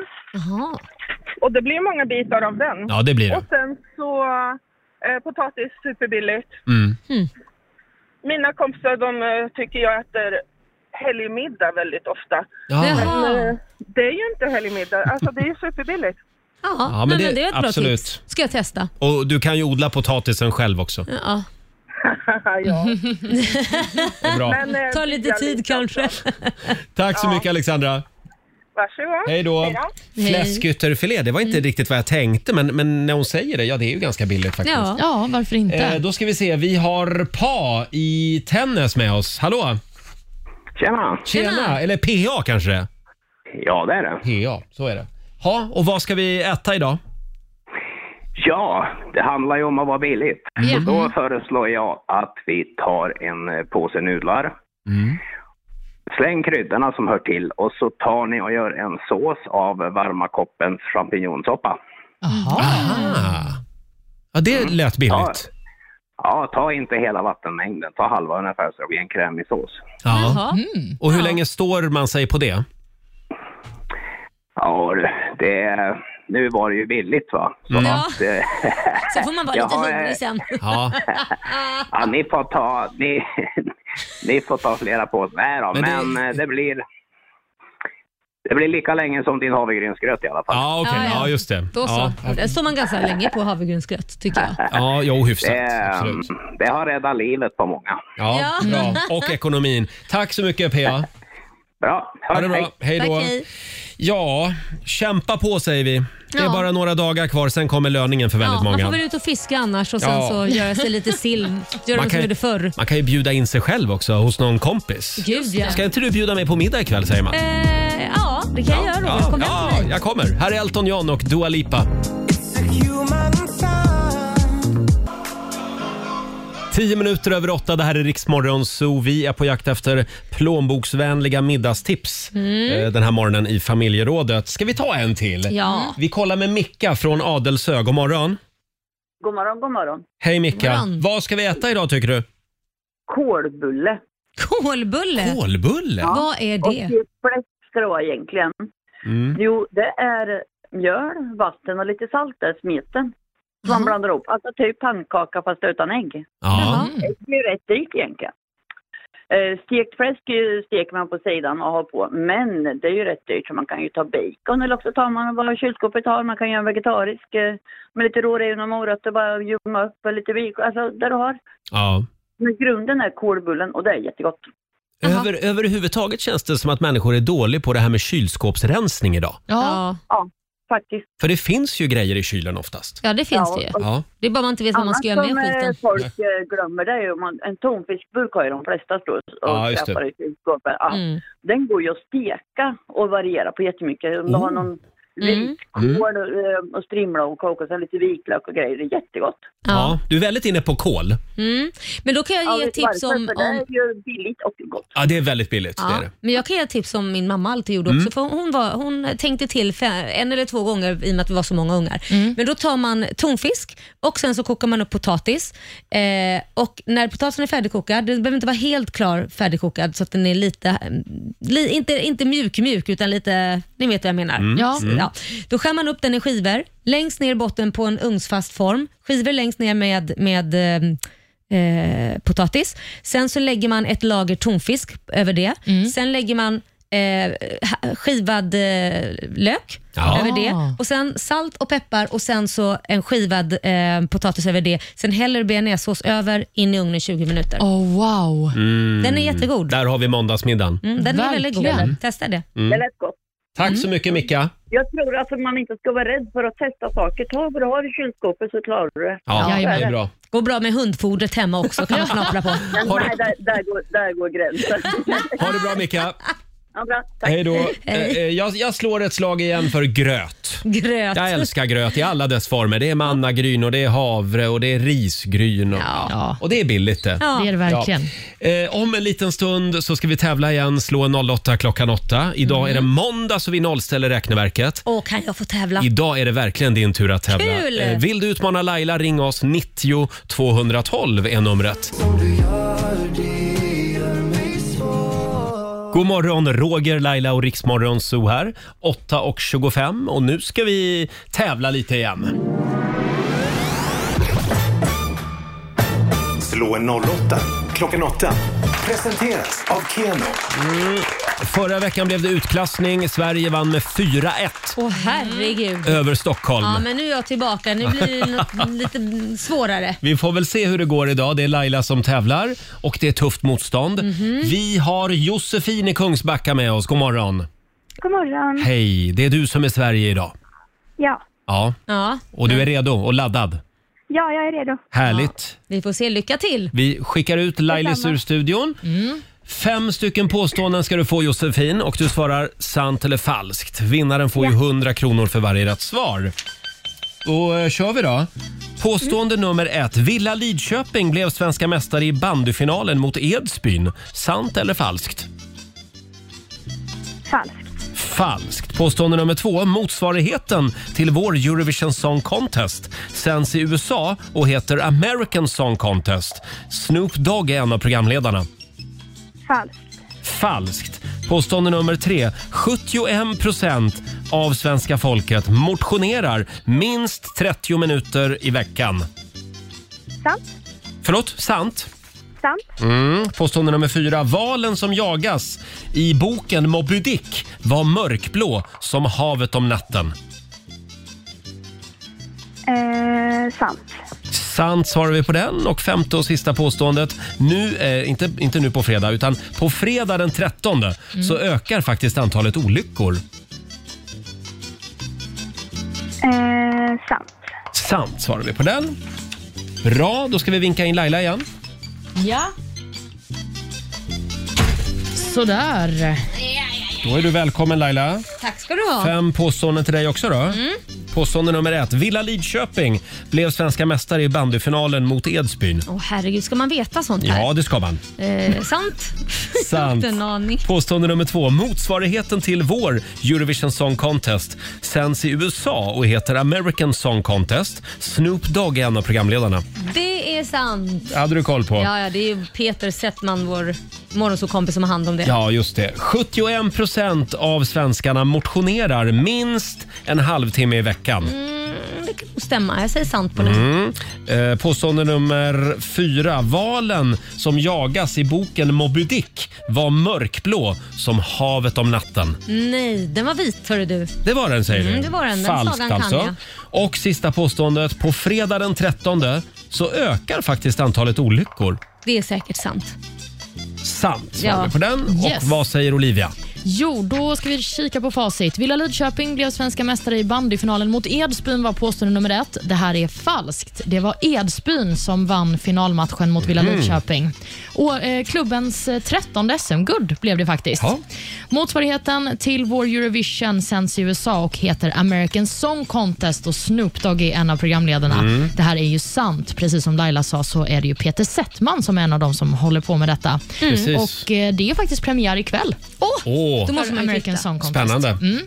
M: Och det blir många bitar av den.
A: Ja, det blir det.
M: Och sen så eh, potatis superbilligt.
A: Mm.
D: Hmm.
M: Mina kompisar de eh, tycker jag äter helgmiddag väldigt ofta.
A: Ja.
D: Jaha.
M: Men eh, det är ju inte helgmiddag, alltså det är ju superbilligt.
D: Ja,
A: Ja, men
D: men
A: det-
D: det, är ett bra
A: absolut.
D: tips. Ska jag testa.
A: Och du kan ju odla potatisen själv också.
D: Ja.
M: ja.
A: är bra.
M: Men, eh,
D: Tar lite
M: jag
D: tid kanske.
A: Tack så mycket Alexandra.
M: Varsågod.
A: Hej då.
D: Hej.
A: Fläskytterfilé, det var inte
D: Mm.
A: riktigt vad jag tänkte men, men när hon säger det, ja det är ju ganska billigt faktiskt.
F: Ja. ja, varför inte?
A: Eh, då ska vi se, vi har PA i tennis med oss. Hallå!
L: Tjena!
A: Tjena! Eller PA kanske?
L: Ja, det är det.
A: PA, så är det. Ha, och vad ska vi äta idag?
L: Ja, det handlar ju om att vara billigt.
A: Ja. Mm.
L: Så då föreslår jag att vi tar en eh, påse nudlar.
A: Mm.
L: Släng kryddorna som hör till och så tar ni och gör en sås av varma koppens champinjonsoppa.
A: Aha. Ja, det
L: Mm.
A: lät billigt.
L: Ja, ta inte hela vattenmängden. Ta halva ungefär så det blir en krämig sås.
A: Ja. Och hur länge står man sig på det?
L: Ja, du, det... Nu var det ju billigt va? Så
A: Mm. Ja.
L: att, eh,
D: Så får man vara
L: jag
D: lite
L: har, eh,
D: hungrig sen.
A: Ja.
L: Ja, ni får ta, ni, ni får ta flera påsar. Nej då,
A: Men
L: men, det...
A: det-
L: det blir... Det blir lika länge som din havregrynsgröt i alla fall.
A: Ja, okej.
D: Ja, ja. Ja,
A: just det.
D: Då så. Där står man ganska länge på havregrynsgröt tycker jag.
A: Ja, jo, hyfsat.
L: Det, mm, det har räddat livet på många.
A: Ja,
D: Ja.
A: bra. Och ekonomin. Tack så mycket PA.
L: Bra.
A: Ha det bra. Hej då.
D: Tack, hej.
A: Ja, kämpa på säger vi. Det är
D: Ja.
A: bara några dagar kvar, sen kommer löningen för väldigt
D: Ja, man
A: många.
D: får väl ut och fiska annars och sen
A: Ja.
D: så göra sig lite sill. Göra
A: Man
D: man som
A: kan,
D: gjorde förr.
A: man kan ju bjuda in sig själv också hos någon kompis.
D: Gud ja.
A: Ska inte du bjuda mig på middag ikväll säger man?
D: Eh, ja, det kan jag göra Roger. Kom hem
A: ja, jag kommer. Här är Elton John och Dua Lipa. Tio minuter över åtta, det här är Riksmorgon Zoo. Vi är på jakt efter plånboksvänliga middagstips
D: Mm.
A: eh, den här morgonen i familjerådet. Ska vi ta en till?
O: Ja.
A: Vi kollar med Micka från Adelsö. God morgon.
O: God morgon, god morgon.
A: Hej Micka.
O: God morgon.
A: Vad ska vi äta idag tycker du?
O: Kålbulle.
D: Kålbulle?
A: Kålbulle?
D: Vad är det?
O: Och fläsk ska det vara egentligen.
A: Mm.
O: Jo, det är mjöl, vatten och lite salt där, smeten. Som man blandar ihop. Alltså typ pannkaka fast utan ägg.
A: Ja.
O: Det blir rätt dyrt egentligen. Eh, Stekt fläsk eh, steker man på sidan och har på, men det är ju rätt dyrt så man kan ju ta bacon eller också tar man vad kylskåpet har. Man kan göra en vegetarisk eh, med lite rårevna och morötter, bara ljumma upp och lite vik, alltså där du har.
A: Ja.
O: Men grunden är kålbullen och det är jättegott.
A: Över, överhuvudtaget känns det som att människor är dåliga på det här med kylskåpsrensning idag.
O: Ja. Ja, faktiskt.
A: För det finns ju grejer i kylen oftast.
D: Ja, det finns det ju.
A: Ja.
D: Det är bara man inte vet vad man ska göra med
O: Annars som eh,
D: skiten.
O: folk eh, glömmer det är ju, om man, en tonfiskburk har ju de flesta stå och
A: Ja, just det.
O: skrapar i kylskåpet. Ja.
D: Mm.
O: Den går ju att steka och variera på jättemycket. Om du
A: Oh.
O: har någon
D: Mm.
O: vitkål eh, och strimla och kokos och lite vitlök och grejer, det är jättegott.
A: Ja. Du är väldigt inne på kol.
D: Mm. Men då kan jag
O: Ja,
D: ge
O: vet du
D: tips
O: varför?
D: om...
O: För Det
D: om
O: är ju billigt och gott.
A: Ja, det är väldigt billigt. Det är
D: Ja,
A: det.
D: men jag kan ge tips som min mamma alltid gjorde
A: Mm.
D: också. För hon, var, hon tänkte till fe- en eller två gånger i och med att vi var så många ungar. Men då tar man tonfisk och sen så kokar man upp potatis. Eh, och när potatisen är färdigkokad, den behöver inte vara helt klar färdigkokad så att den är lite, eh, li, inte, inte mjuk mjuk utan lite, ni vet vad jag menar.
B: Mm. Ja.
D: Så,
B: Mm.
D: Ja. Då skär man upp den i skivor, längst ner i botten på en ugnsfast form. Skivor längst ner med, med ehm, eh, potatis. Sen så lägger man ett lager tonfisk över det. Sen lägger man eh, ha- skivad eh, lök
B: Ja.
D: över
B: Ah.
D: det. Och Sen salt och peppar och sen så en skivad eh, potatis över det. Sen häller du bearnaisesås över, in i ugnen 20 minuter.
F: Oh, wow.
A: Mm.
D: Den är jättegod.
A: Där har vi måndagsmiddagen.
D: Mm, den är väldigt god.
A: Verkligen.
D: Testa det.
A: Mm.
O: Det lät gott.
A: Tack så mycket Micka.
O: Jag tror alltså man inte ska vara rädd för att testa saker. Ta vad du har i kylskåpet så klarar du det.
A: Ja, det är bra.
D: Går bra med hundfodret hemma också, kan man knapra på.
O: Men Nej, där, där, går, där går gränsen.
A: Ha det bra Micka.
M: Ja, bra. Tack.
A: Hej då. Eh, eh, Jag, jag slår ett slag igen för gröt.
D: Gröt.
A: Jag älskar gröt i alla dess former. Det är mannagryn och det är havre och det är risgryn. Och, och det är billigt det.
F: Ja. Det är det verkligen.
A: Ja. Eh, om en liten stund så ska vi tävla igen. Slå en 08 klockan 8. Idag är det måndag så vi nollställer räkneverket.
D: Åh, kan jag få tävla?
A: Idag är det verkligen din tur att tävla.
D: Kul!
A: Eh, Vill du utmana Laila, ring oss. 90 212 är numret. God morgon, Roger, Laila och Riksmorgon Zoo här. 8.25 och nu ska vi tävla lite igen.
E: Slå en 08 klockan 8. Presenteras av Keno.
A: Mm. Förra veckan blev det utklassning. Sverige vann med 4-1
D: Åh herregud.
A: över Stockholm.
D: Ja, men nu är jag tillbaka. Nu blir det något lite svårare.
A: Vi får väl se hur det går idag. Det är Laila som tävlar och det är tufft motstånd.
D: Mhm.
A: Vi har Josefin i Kungsbacka med oss. God morgon.
M: God morgon.
A: Hej, det är du som är Sverige idag.
M: Ja.
A: Ja,
D: Ja.
A: och du är redo och laddad.
M: ja, jag är redo.
A: Härligt.
D: Vi får se. Lycka till.
A: Vi skickar ut Lailis
D: Detsamma.
A: ur studion. Fem stycken påståenden ska du få Josefin och du svarar sant eller falskt. Vinnaren får ju 100 kronor för varje rätt svar. Då eh, kör vi då. Påstående nummer ett. Villa Lidköping blev svenska mästare i bandyfinalen mot Edsbyn. Sant eller falskt?
M: Falskt.
A: Falskt. Påstående nummer två. Motsvarigheten till vår Eurovision Song Contest sänds i USA och heter American Song Contest. Snoop Dogg är en av programledarna.
M: Falskt.
A: Falskt. Påstående nummer tre. 71 procent av svenska folket motionerar minst 30 minuter i veckan.
M: Sant.
A: Förlåt? Sant?
M: Sant.
A: Mm. Påstående nummer fyra. Valen som jagas i boken Moby Dick var mörkblå som havet om natten.
M: Eh, sant.
A: Sant svarar vi på den. Och femte och sista påståendet. Nu, eh, inte, inte nu på fredag, utan på fredag den 13 så ökar faktiskt antalet olyckor.
M: Eh, sant.
A: Sant svarar vi på den. Bra, då ska vi vinka in Laila igen.
F: Ja. Sådär.
A: Då är du välkommen Laila.
D: Tack ska du ha.
A: Fem påståenden till dig också då.
D: Mm.
A: Påstående nummer ett. Villa Lidköping blev svenska mästare i bandyfinalen mot Edsbyn.
D: Åh herregud, ska man veta sånt här?
A: Ja, det ska man.
D: Eh, sant?
A: Sant.
D: Inte en aning.
A: Påstående nummer två. Motsvarigheten till vår Eurovision Song Contest sänds i USA och heter American Song Contest. Snoop Dogg är en av programledarna.
D: Det är sant.
A: hade du koll på.
D: Ja, ja, det är ju Peter Settman, vår morgonsåkompis, som har hand om det.
A: Ja, just det. 71 procent av svenskarna motionerar minst en halvtimme i veckan.
D: Mm, det kan nog stämma. Jag säger sant på den.
A: Mm. Eh, påstående nummer fyra. Valen som jagas i boken Moby Dick var mörkblå som havet om natten.
D: Nej, den var vit hörru du.
A: Det var den säger
D: Mm,
A: du?
D: det var den. Den
A: Falskt
D: sagan kan
A: alltså.
D: jag.
A: Och sista påståendet. På fredag den 13 så ökar faktiskt antalet olyckor.
D: Det är säkert sant.
A: Sant svarar
F: Ja.
A: vi på den. Och
F: Yes.
A: vad säger Olivia?
F: Jo, då ska vi kika på facit. Villa Lidköping blev svenska mästare i bandyfinalen mot Edsbyn var påstående nummer ett. Det här är falskt. Det var Edsbyn som vann finalmatchen mot Villa
Q: Mhm.
F: Lidköping. Och, eh, klubbens eh, 13 SM-guld blev det faktiskt. Motsvarigheten till vår Eurovision sänds i USA och heter American Song Contest och Snoop Dogg är en av programledarna.
Q: Mm.
F: Det här är ju sant. Precis som Laila sa så är det ju Peter Settman som är en av de som håller på med detta.
A: Mm. Precis.
F: Och eh, det är faktiskt premiär ikväll.
A: Åh,
F: Då måste man American Song Contest.
A: Spännande.
F: Mm.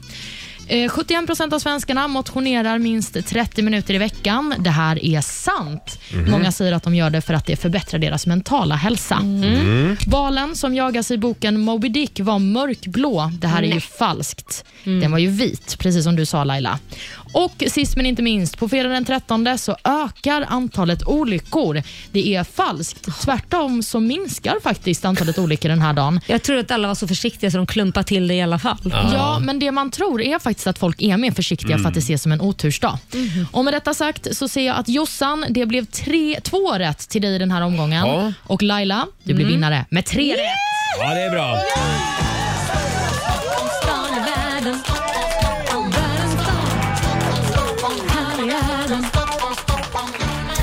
F: Eh, 71 av svenskarna motionerar minst 30 minuter i veckan. Det här är sant.
Q: Mhm.
F: Många säger att de gör det för att det förbättrar deras mentala hälsa.
Q: Mm.
F: Valen som jagas i boken Moby Dick var mörkblå. Det här är ju
Q: Nej.
F: falskt. Den var ju vit, precis som du sa Laila. Och sist men inte minst, på fredag den 13 så ökar antalet olyckor. Det är falskt. Tvärtom så minskar faktiskt antalet olyckor den här dagen.
D: Jag tror att alla var så försiktiga så de klumpade till det i alla fall.
F: Ja, men det man tror är faktiskt att folk är mer försiktiga för att det ses som en otursdag. Och med detta sagt så ser jag att Jossan, det blev tre, två rätt till dig den här omgången. Och Laila, du blir
A: Mm.
F: vinnare med tre rätt.
A: Ja, det är bra.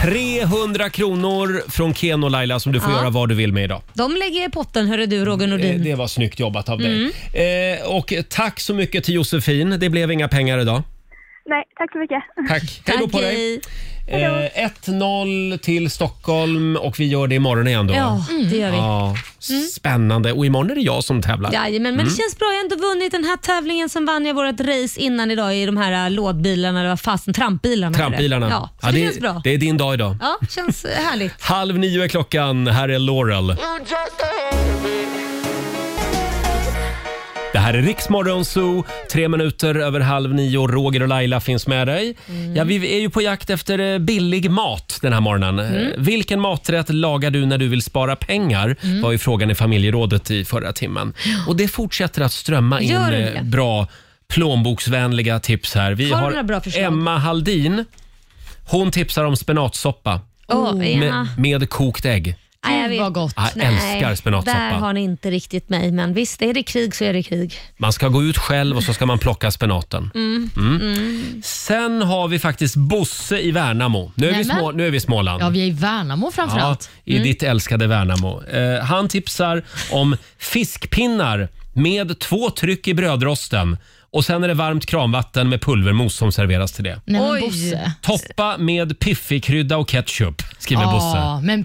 A: 300 kronor från Ken och Laila som du får
D: Ja.
A: göra vad du vill med idag.
D: De lägger i potten, hörru du Roger
A: Eh,
D: Nordin.
A: Det var snyggt jobbat av dig.
D: Mm.
A: Eh, och tack så mycket till Josefin. Det blev inga pengar idag.
Q: Nej, tack så mycket.
A: Tack. Hej då på dig. Eh, 1-0 till Stockholm och vi gör det imorgon igen då.
D: Ja, det gör vi. Mm.
A: Ja, spännande. Och imorgon är det jag som tävlar.
D: Jajamän, men
A: Mm.
D: det känns bra. Jag har ändå vunnit den här tävlingen. Sen vann jag vårt race innan idag i de här äh, lådbilarna, eller vad fasen, trampbilarna. heter det.
A: Trampbilarna.
D: Ja, så
A: Ja,
D: det,
A: det,
D: känns bra.
A: det är din dag idag.
D: Ja, känns eh, härligt.
A: Halv nio är klockan. Här är Laurel. Det här är Riksmorgon Zoo. Tre minuter över halv nio. Roger och Laila finns med dig.
B: Mm.
A: Ja, vi är ju på jakt efter eh, billig mat den här morgonen.
B: Mm.
A: Eh, Vilken maträtt lagar du när du vill spara pengar?
B: Mm.
A: var ju frågan i familjerådet i förra timmen. Och det fortsätter att strömma in
B: Gör det
A: eh,
B: det?
A: bra plånboksvänliga tips här. Vi
B: Har
A: har,
B: du några bra förslag?
A: Emma Haldin. Hon tipsar om spenatsoppa
D: Åh, Emma.
A: med, med kokt ägg.
D: Nej, jag vet.
A: vad gott. Jag älskar spenatsoppa.
D: Där har ni inte riktigt mig, men visst, är det krig så är det krig.
A: Man ska gå ut själv och så ska man plocka spenaten.
D: Mm.
A: Mm.
D: Mm.
A: Sen har vi faktiskt Bosse i Värnamo. Nu är, vi,
F: Nämen.
A: små, nu är vi i Småland.
F: Ja, vi är i Värnamo framförallt. Mm.
A: Ja, I ditt älskade Värnamo. Eh, han tipsar om fiskpinnar med två tryck i brödrosten och sen är det varmt kranvatten med pulvermos som serveras till det.
F: Nej, men Oj. Bosse.
A: Toppa med piffikrydda och ketchup, skriver Bosse.
F: Mm. men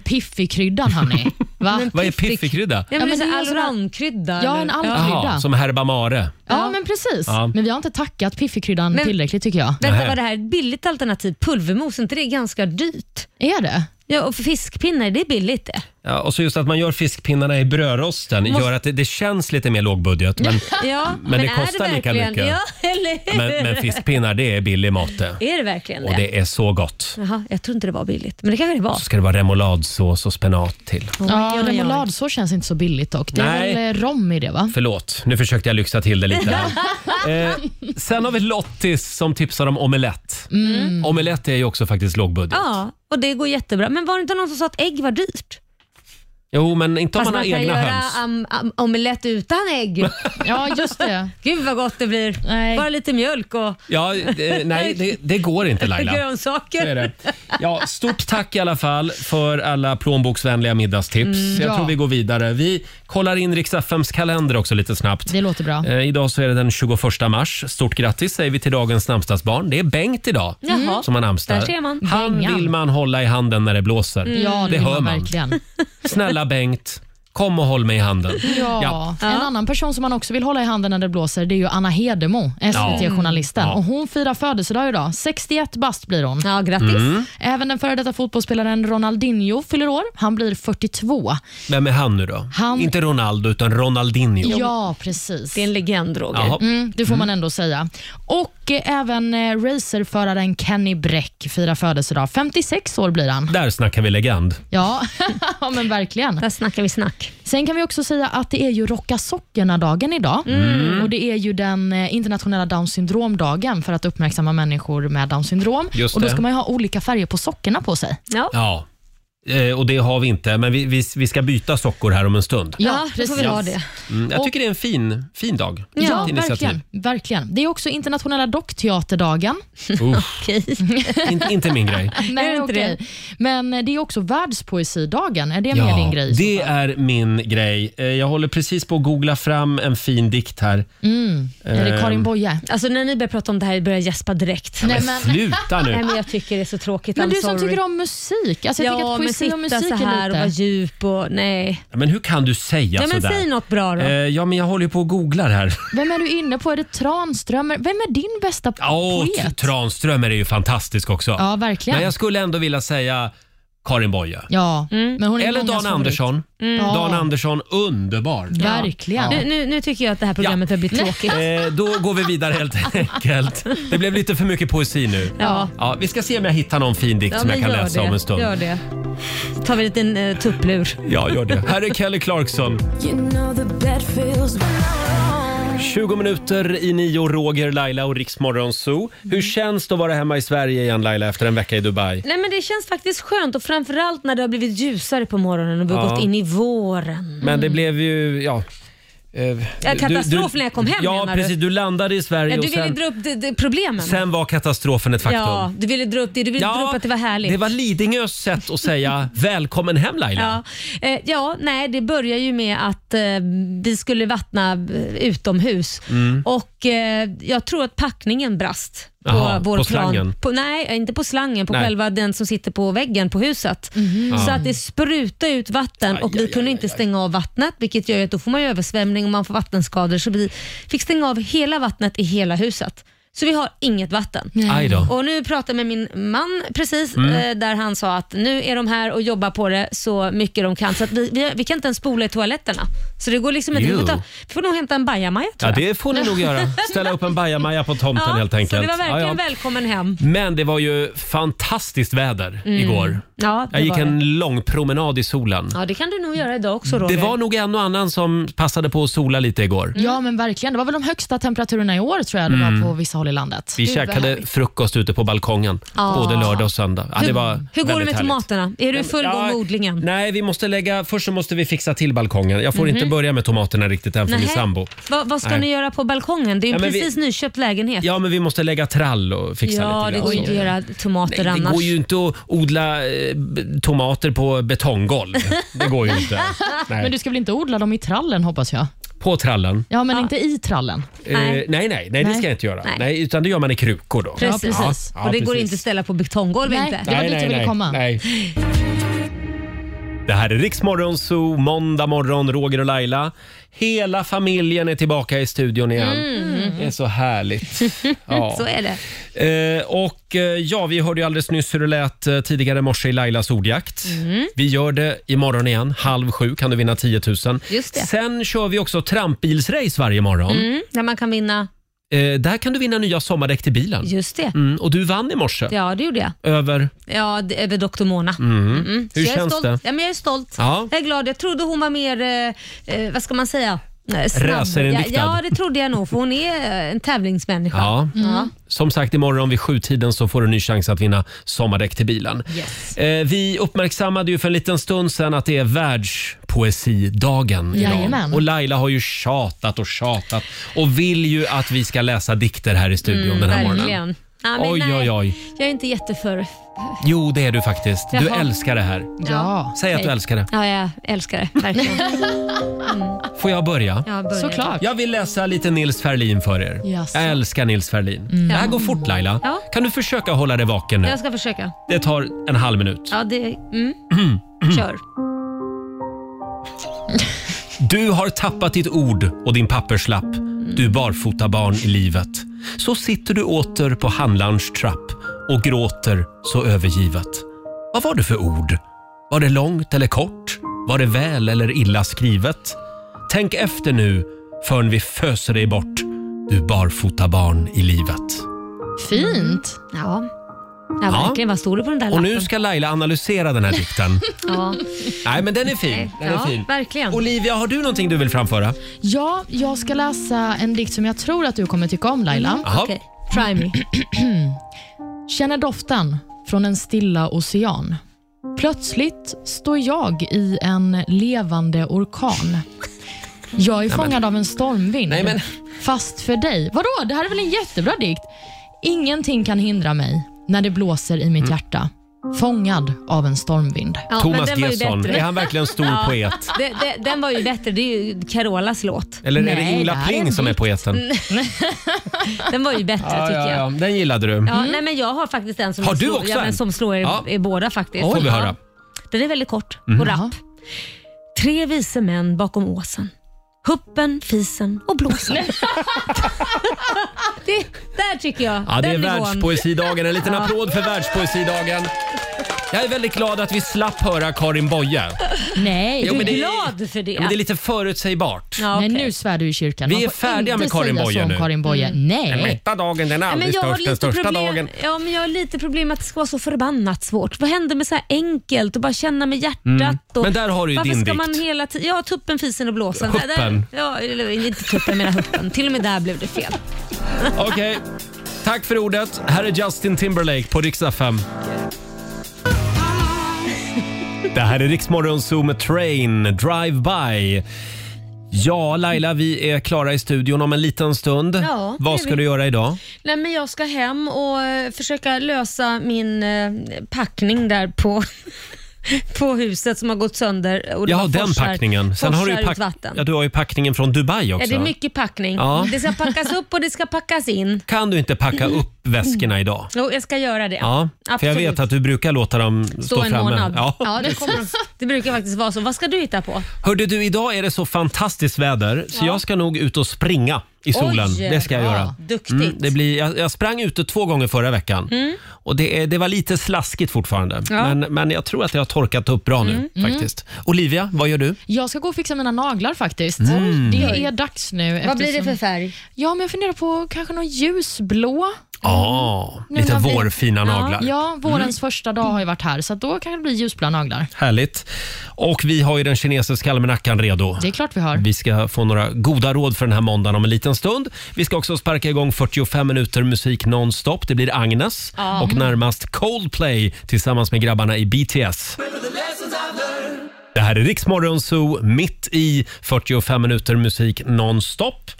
F: piffikryddan hörni. Va?
A: Vad är piffikrydda?
D: Ja, men det är alltså
F: ju
D: en
F: sådana-
D: allroundkrydda.
F: Ja, en allroundkrydda.
A: Jaha, som Herba Mare.
F: Ja, men precis.
A: Ja.
F: Men vi har inte tackat piffikryddan
D: Men-
F: tillräckligt tycker jag.
D: Vänta, var det här ett billigt alternativ? Pulvermos, inte det är ganska dyrt?
F: Är det?
D: Ja, och fiskpinnar, det är billigt det.
A: Ja, och så just att man gör fiskpinnarna i brödrosten
D: Måste-
A: gör att det, det känns lite mer lågbudget. Men,
D: ja,
A: men det kostar lika
D: verkligen-
A: mycket.
D: Ja, eller hur?
A: men, men fiskpinnar, det är billig mat det.
D: Är det verkligen
A: Och det är så gott.
D: Jaha, jag tror inte det var billigt, men det kanske det var.
A: Så ska det vara remouladsås och spenat till.
F: Ja, remouladsås känns inte så billigt dock. Det är
A: Nej.
F: väl eh, rom i det va?
A: Förlåt, nu försökte jag lyxa till det lite. Här. Eh, sen har vi Lottis som tipsar om omelett.
D: Mm.
A: Omelett är ju också faktiskt lågbudget.
D: Ja, och det går jättebra. Men var det inte någon som sa att ägg var dyrt?
A: Jo, men inte om man har
D: man kan
A: egna
D: göra
A: höns.
D: am, am, omelett utan ägg.
F: ja, just det.
D: Gud vad gott det blir. Bara lite mjölk och
A: Ja, eh, nej, det, det går inte Laila.
D: grönsaker.
A: Så är det. Ja, stort tack i alla fall för alla plånboksvänliga middagstips.
F: Mm,
A: Jag
F: ja.
A: tror vi går vidare. Vi kollar in Rix FMs kalender också lite snabbt.
F: Det låter bra.
A: Eh, idag så är det den 21 mars. Stort grattis säger vi till dagens namnsdagsbarn. Det är Bengt idag
F: Jaha.
A: som har namnsdag.
F: Mm. Där ser man.
A: Han
F: Bengan. Mm.
A: vill man hålla i handen när det blåser.
F: Ja, det,
A: det
F: vill
A: hör man.
F: verkligen.
A: Snälla Bengt, kom och håll mig i handen.
F: Ja. En annan person som man också vill hålla i handen när det blåser det är ju Anna Hedemo, SVT-journalisten.
A: Ja.
F: Och Hon firar födelsedag idag. 61 bast blir hon.
D: Ja,
A: grattis. Mm.
F: Även den före detta fotbollsspelaren Ronaldinho fyller år. Han blir 42.
A: Vem är han nu då?
F: Han-
A: Inte Ronaldo, utan Ronaldinho.
F: Ja, precis. Det är
D: en legend,
A: Jaha.
F: Mm, det får man
A: Mm.
F: ändå säga. Och eh, även eh, racerföraren Kenny Bräck firar födelsedag. 56 år blir han.
A: Där snackar vi legend.
F: Ja, ja, men verkligen.
D: Där snackar vi snack.
F: Sen kan vi också säga att det är ju rocka sockerna-dagen idag.
A: Mm.
F: Och Det är ju den eh, internationella down syndrom-dagen för att uppmärksamma människor med down syndrom.
A: Just
F: och Då
A: det.
F: ska man ju ha olika färger på sockerna på sig.
D: Ja.
A: Ja, eh, och det har vi inte. Men vi, vi, vi ska byta sockor här om en stund.
F: Ja, då får vi ha det.
A: Mm, jag
F: Och-
A: tycker det är en fin, fin dag.
F: Ja,
A: Fint initiativ.
F: verkligen, verkligen. Det är också internationella dockteaterdagen.
A: Uff. In, inte min grej.
F: Nej, okej. Men eh, det är också världspoesidagen. Är det mer din grej?
A: det är min grej. Eh, Jag håller precis på att googla fram en fin dikt här.
F: Mm. Är det Karin
A: Ehm.
F: Boye?
D: Alltså när ni börjar prata om det här börjar jag gäspa direkt.
A: Nej, men sluta nu.
D: Nej, men jag tycker det är så tråkigt.
F: Men
D: I'm
F: du som
D: sorry.
F: tycker om musik. Alltså jag
D: ja,
F: tycker att
D: men
F: poesi
D: sitta
F: och musik
D: så här
F: är
D: och
F: lite...
D: vara djup och nej.
A: Men hur kan du
D: Ja,
A: säga
D: men
A: sådär?
D: säg något bra då.
A: Eh, Ja, men jag håller ju på och googlar här.
F: Vem är du inne på? Är det Tranströmer? Vem är din bästa
A: Åh,
F: poet?
A: Tranströmer är ju fantastisk också.
F: Ja, verkligen.
A: Men jag skulle ändå vilja säga Karin Boye.
F: Ja, men hon är
A: Eller
F: mångas
A: Dan
F: favorit.
A: Andersson.
D: Mm. Ja.
A: Dan Andersson, underbar.
D: Ja. Nu, nu, nu tycker jag att det här programmet har blivit tråkigt.
A: Eh, då går vi vidare helt enkelt. Det blev lite för mycket poesi nu.
D: Ja.
A: vi ska se om jag hittar någon fin dikt
D: Ja,
A: som
D: men
A: jag kan
D: gör
A: läsa
D: det.
A: om en stund.
D: Gör det. Så tar vi en liten eh, tupplur.
A: Ja, gör det. Här är Kelly Clarkson. 20 minuter i nio, Roger, Laila och Riksmorgon Zoo.
D: Mm.
A: Hur känns det att vara hemma i Sverige igen Laila efter en vecka i Dubai?
D: Nej, men det känns faktiskt skönt och framförallt när det har blivit ljusare på morgonen och vi har
A: Ja.
D: gått in i våren.
A: Men det blev ju, ja,
D: Mm.
A: eh,
D: Ja, katastrofen när jag kom hem,
A: Ja,
D: menar du?
A: precis. Du landade i Sverige
D: Ja, du
A: och
D: ville
A: sen,
D: dra upp de, de problemen.
A: sen var katastrofen ett faktum.
D: Ja, du ville dra upp det. Du ville
A: Ja,
D: dra upp att det var härligt.
A: Det var Lidingös sätt att säga välkommen hem Laila.
D: Ja. Eh, ja, nej, det börjar ju med att eh, vi skulle vattna eh, utomhus
A: Mm.
D: och eh, jag tror att packningen brast. På,
A: Jaha,
D: vår
A: på
D: plan.
A: slangen?
D: På, nej, inte på slangen, på
A: Nej.
D: själva den som sitter på väggen på huset. Så
A: Ja.
D: att det sprutade ut vatten och vi kunde inte stänga av vattnet, vilket gör ju att då får man ju översvämning och man får vattenskador. Så vi fick stänga av hela vattnet i hela huset. Så vi har inget vatten.
A: Aj då.
D: Och nu pratade jag med min man precis,
A: Mm.
D: eh, där han sa att nu är de här och jobbar på det så mycket de kan. Så att vi, vi, vi kan inte ens spola i toaletterna. Så det går liksom inte. Vi får,
A: Ew.
D: ta, vi får nog hämta en bajamaja tror
A: Ja,
D: jag.
A: det får ni nog göra. Ställa upp en bajamaja på tomten
D: Ja,
A: helt enkelt.
D: Så det var verkligen
A: Ja, ja.
D: välkommen hem.
A: Men det var ju fantastiskt väder
D: Mm.
A: igår.
D: Ja, det
A: Jag gick
D: var
A: en
D: det.
A: lång promenad i solen.
D: Ja, det kan du nog göra idag också Roger. Mm.
A: det var nog en och annan som passade på att sola lite igår.
F: Ja, men verkligen. Det var väl de högsta temperaturerna i år tror jag det
A: Mm.
F: var på vissa håll i landet.
A: Vi
F: Gud, vad
A: käkade
F: härligt.
A: frukost ute på balkongen
D: Ja.
A: både lördag och söndag. Ja, det var
D: Hur går det
A: väldigt
D: med
A: härligt.
D: tomaterna? Är du i full gång med odlingen?
A: Nej, vi måste lägga... Först så måste vi fixa till balkongen. Jag får
D: Mhm.
A: inte börja med tomaterna riktigt än för min
D: Nähä.
A: sambo.
D: Va, vad ska
A: Nej.
D: ni göra på balkongen? Det är ju
A: Ja, men vi-
D: precis nyköpt lägenhet.
A: Ja, men vi måste lägga trall och fixa
D: ja,
A: lite
D: det
A: grann.
D: går ju
A: så.
D: inte att göra tomater
A: Nej, det
D: annars.
A: går ju inte att odla eh, b- tomater på betonggolv. Det går ju inte. Nej.
F: Men du ska väl inte odla dem i trallen hoppas jag?
A: På trallen.
F: Ja, men inte i trallen.
A: Eh, nej. Nej, nej, det
F: Nej.
A: ska jag inte göra. Nej.
F: Nej.
A: utan det gör man i krukor då.
D: Precis.
A: Ja,
D: och det går
A: precis.
D: inte att ställa på betonggolv inte.
A: Nej, nej, nej, Nej. Det här är Riksmorgon Zoo, måndag morgon, Roger och Laila. Hela familjen är tillbaka i studion igen.
D: Mm.
A: Det är så härligt. Ja.
D: Så är det.
A: Eh, och eh, ja, vi hörde ju alldeles nyss hur det lät eh, tidigare i morse i Lailas ordjakt.
D: Mm.
A: Vi gör det imorgon igen. Halv sju kan du vinna 10 000.
D: Just det.
A: Sen kör vi också trampbilsrace varje morgon.
D: Mm, där man kan vinna.
A: Eh, där kan du vinna nya sommardäck till bilen.
D: Just det.
A: Mm, och du vann i morse.
D: Ja, det gjorde jag.
A: Över?
D: Ja, det, över Dr. Mona.
A: Mm.
D: Så
A: Hur
D: jag är
A: känns
D: stolt.
A: det?
D: Ja, men jag är stolt.
A: Ja.
D: Jag är glad. Jag trodde hon var mer, eh, eh, vad ska man säga? Eh, snabb.
A: Racerinriktad.
D: Ja, ja, det trodde jag nog för hon är eh, en tävlingsmänniska. Mm.
A: Ja. Mm.
D: Ja.
A: Som sagt, imorgon vid sjutiden så får du en ny chans att vinna sommardäck till bilen. Eh, vi uppmärksammade ju för en liten stund sedan att det är världspoesidagen idag.
F: Jajamän.
A: Och Laila har ju tjatat och tjatat och vill ju att vi ska läsa dikter här i studion
D: Mm,
A: den här morgonen.
D: verkligen. Ja, men
A: Oj,
D: nej,
A: oj, oj.
D: Jag är inte jätteför.
A: Jo, det är du faktiskt. Du
D: Jaha.
A: älskar det här.
D: Ja.
A: Säg att du
D: Nej.
A: älskar det.
D: Ja, jag älskar det. Verkligen. Mm.
A: Får jag börja?
D: Ja, börja. Såklart.
A: Jag vill läsa lite Nils Ferlin för er.
D: Jaså.
A: Jag älskar Nils Ferlin. Det här går fort Laila.
D: Mm. Ja.
A: Kan du försöka hålla dig vaken nu?
D: Jag ska försöka.
A: Det tar en halv minut.
D: Ja, det... Mm. Kör.
A: Du har tappat ditt ord och din papperslapp. Du barfota barn i livet. Så sitter du åter på handlarns trapp och gråter så övergivet. Vad var det för ord? Var det långt eller kort? Var det väl eller illa skrivet? Tänk efter nu förrän vi föser dig bort, du barfota barn i livet.
D: Fint. Mm. Ja. Ja, verkligen. Vad stod det på den där
A: Och
D: lappen?
A: nu ska Laila analysera den här dikten.
D: Ja,
A: Nej, men den är fin. Den är
F: Ja.
A: fin.
D: verkligen.
A: Olivia, har du någonting du vill framföra?
F: Ja, jag ska läsa en dikt som jag tror att du kommer tycka om Laila.
A: Jaha. Mm, Okej.
F: Try me. Känner doften från en stilla ocean. Plötsligt står jag i en levande orkan. Jag är
A: men-
F: fångad av en stormvind.
A: Nej, men-
F: Fast för dig. Vadå? Det här är väl en jättebra dikt? Ingenting kan hindra mig när det blåser i
A: Mm.
F: mitt hjärta. Fångad av en stormvind.
A: Thomas Gesson, är han verkligen stor
D: Ja.
A: poet?
D: Det, det, den var ju bättre. Det är ju Carolas låt.
A: Eller är det Ingla Pling som är poeten?
D: Den var ju bättre tycker jag. Ja, Mm.
A: Den gillade du.
D: nej, men jag har faktiskt en som
A: Har du
D: slår,
A: också
D: ja,
A: en?
D: men som slår er,
A: Ja.
D: er båda faktiskt.
A: Får vi
D: Ja.
A: höra.
D: Den är väldigt kort
A: Mhm.
D: och rapp. Tre vise män bakom åsen. Huppen, fisen och blåsan. det, där tycker jag.
A: Ja, det är
D: Den nivån.
A: världspoesidagen. En liten
D: Ja.
A: applåd för världspoesidagen. Jag är väldigt glad att vi slapp höra Karin Boye.
F: Nej,
A: Jo,
F: du
A: men
F: är
A: det är-
F: glad för det.
A: Ja, men det är lite förutsägbart.
F: Men nu svär du i kyrkan.
A: Vi
F: Man
A: är
F: får
A: färdiga
F: inte
A: med Karin
F: säga så
A: Boye
F: om
A: nu.
F: Karin Boye.
A: Den
F: Nej.
A: mätta dagen, den är
D: Ja, men
A: aldrig
D: jag har
A: störst. Den
D: lite
A: största
D: problem,
A: dagen.
D: Ja, men jag har lite problem med att det ska vara så förbannat svårt. Vad händer med så här enkelt och bara känna med hjärtat?
A: Mm.
D: Och,
A: Men där har du ju
D: varför
A: din
D: ska
A: dikt.
D: man hela tiden... Ja, tuppen, fisen och blåsan.
A: Huppen.
D: Där- Där, ja, eller inte tuppen, jag menar huppen. Till och med där blev det fel.
A: Okej, tack för ordet. Här är Justin Timberlake på riksdag 5. Det här är Riksmorgon Zoo med Train, Drive By. Ja, Laila, vi är klara i studion om en liten stund.
D: Ja, det är
A: Vad ska
D: vi.
A: du göra idag?
D: Nej, men jag ska hem och eh, försöka lösa min eh, packning där på, på huset som har gått sönder. Och det
A: Ja,
D: bara
A: den
D: forsar-
A: packningen. Sen har du, ju
D: forsar ut
A: pack-
D: vatten.
A: ja, du har ju packningen från Dubai också.
D: Ja, det är mycket packning.
A: Ja.
D: Det ska packas upp och det ska packas in.
A: Kan du inte packa upp väskorna idag?
D: Jo, jag ska göra det.
A: Ja, för jag
D: Absolut.
A: vet att du brukar låta dem stå,
D: Stå en
A: framme.
D: månad.
A: Ja. Mm.
D: det, kommer, det brukar faktiskt vara så. Vad ska du hitta på?
A: Hörde du, idag är det så fantastiskt väder så jag ska nog ut och springa i
D: Oj,
A: solen. det ska jag
D: bra.
A: göra.
D: Duktigt.
A: Mm, det blir, jag, jag sprang ute två gånger förra veckan
D: Mm.
A: och det, är- det var lite slaskigt fortfarande.
F: Ja.
A: Men, men jag tror att jag har torkat upp bra nu
F: Mm.
A: faktiskt. Olivia, vad gör du?
F: Jag ska gå och fixa mina naglar faktiskt.
A: Mm.
F: Det är dags nu.
D: Vad blir det för
F: färg? Ja, men jag funderar på kanske någon ljusblå.
A: Ja,
F: Nu
A: Ah, lite
F: när vi-
A: vårfina naglar. Mm.
F: Ja, vårens första dag har ju varit här, så att då kan det bli ljusblå naglar.
A: Härligt. Och vi har ju den kinesiska almanackan redo.
F: Det är klart vi har.
A: Vi ska få några goda råd för den här måndagen om en liten stund. Vi ska också sparka igång 45 minuter musik nonstop. Det blir Agnes
B: Ja.
A: och närmast Coldplay tillsammans med grabbarna i BTS. Det här är Riksmorgon Zoo, mitt i 45 minuter musik nonstop.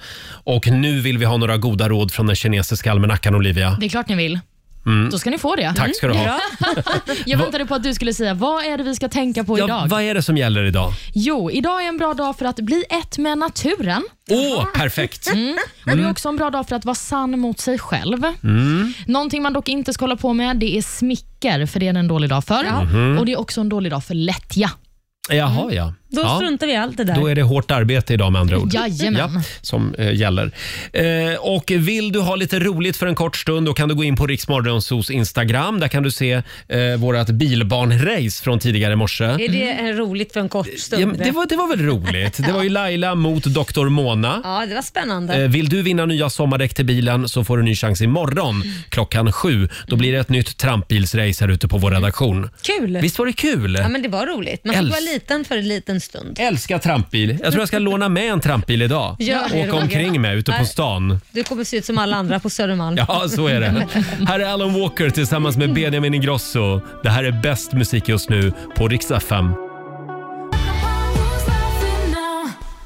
A: Och nu vill vi ha några goda råd från den kinesiska almanackan, Olivia.
F: Det är klart ni vill.
A: Mm.
F: Då ska ni få det.
A: Tack ska du ha.
F: Ja. jag väntade på att du skulle säga, vad är det vi ska tänka på
A: Ja,
F: idag?
A: vad är det som gäller idag?
F: Jo, idag är en bra dag för att bli ett med naturen.
A: Åh, perfekt!
F: Mm. Och det är
A: Mm.
F: också en bra dag för att vara sann mot sig själv.
A: Mm.
F: Någonting man dock inte ska hålla på med det är smicker, för det är en dålig dag för.
A: Mhm.
F: Och Det är också en dålig dag för lättja.
A: Jaha, ja. ja.
F: vi i allt det
A: Då är det hårt arbete idag med andra ord.
F: Jajamän.
A: som eh, gäller. Eh, och vill du ha lite roligt för en kort stund då kan du gå in på Riksmorgonsos Instagram. Där kan du se eh, vårat bilbarnrace från tidigare i morse. Mm.
D: Är det eh, roligt för en kort stund?
A: Ja, men det, var, det var väl roligt? Det var ju Laila mot Dr. Mona.
D: Ja, det var spännande.
A: Eh, Vill du vinna nya sommardäck till bilen så får du en ny chans imorgon klockan sju. Då blir det ett nytt trampbilsrace här ute på vår redaktion.
D: Kul!
A: Visst var det kul?
D: Ja, men det var roligt. Man fick
A: Älsk-
D: vara liten för en liten stund.
A: Älskar trampbil. Jag tror jag ska låna med en trampbil idag.
D: Gör det,
A: Åka
D: Roger.
A: omkring med ute på
D: Nej.
A: stan.
D: Du kommer se ut som alla andra på Södermalm.
A: Ja, så är det. Här är Alan Walker tillsammans med Benjamin Ingrosso. Det här är bäst musik just nu på Rix FM.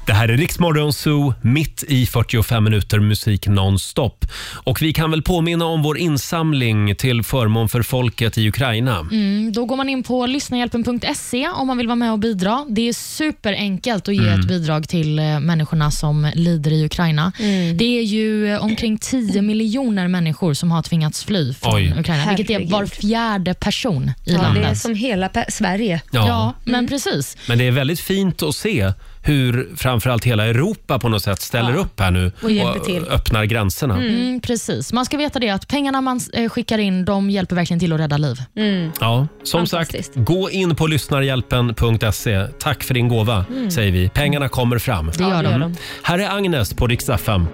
A: Det här är Riksmorgon Zoo, mitt i 45 minuter musik nonstop. Och vi kan väl påminna om vår insamling till förmån för folket i Ukraina.
F: Mm, då går man in på lyssnahjälpen.se om man vill vara med och bidra. Det är superenkelt att ge
A: Mm.
F: ett bidrag till eh, människorna som lider i Ukraina.
D: Mm.
F: Det är ju eh, omkring 10 miljoner människor som har tvingats fly från
A: Oj.
F: Ukraina, vilket är var fjärde person i
D: Ja,
F: landet.
D: det är som hela pe- Sverige. Mm.
A: Ja.
F: men precis.
A: Men det är väldigt fint att se hur framförallt hela Europa på något sätt ställer upp här nu
F: Och hjälper till.
A: öppnar gränserna.
F: Mm, precis. Man ska veta det att pengarna man eh, skickar in de hjälper verkligen till att rädda liv.
A: Ja, som sagt, gå in på lyssnarhjälpen.se. Tack för din gåva,
F: Mm.
A: säger vi. Pengarna kommer fram.
F: Det gör de.
A: Mm. Här är Agnes på Rix FM.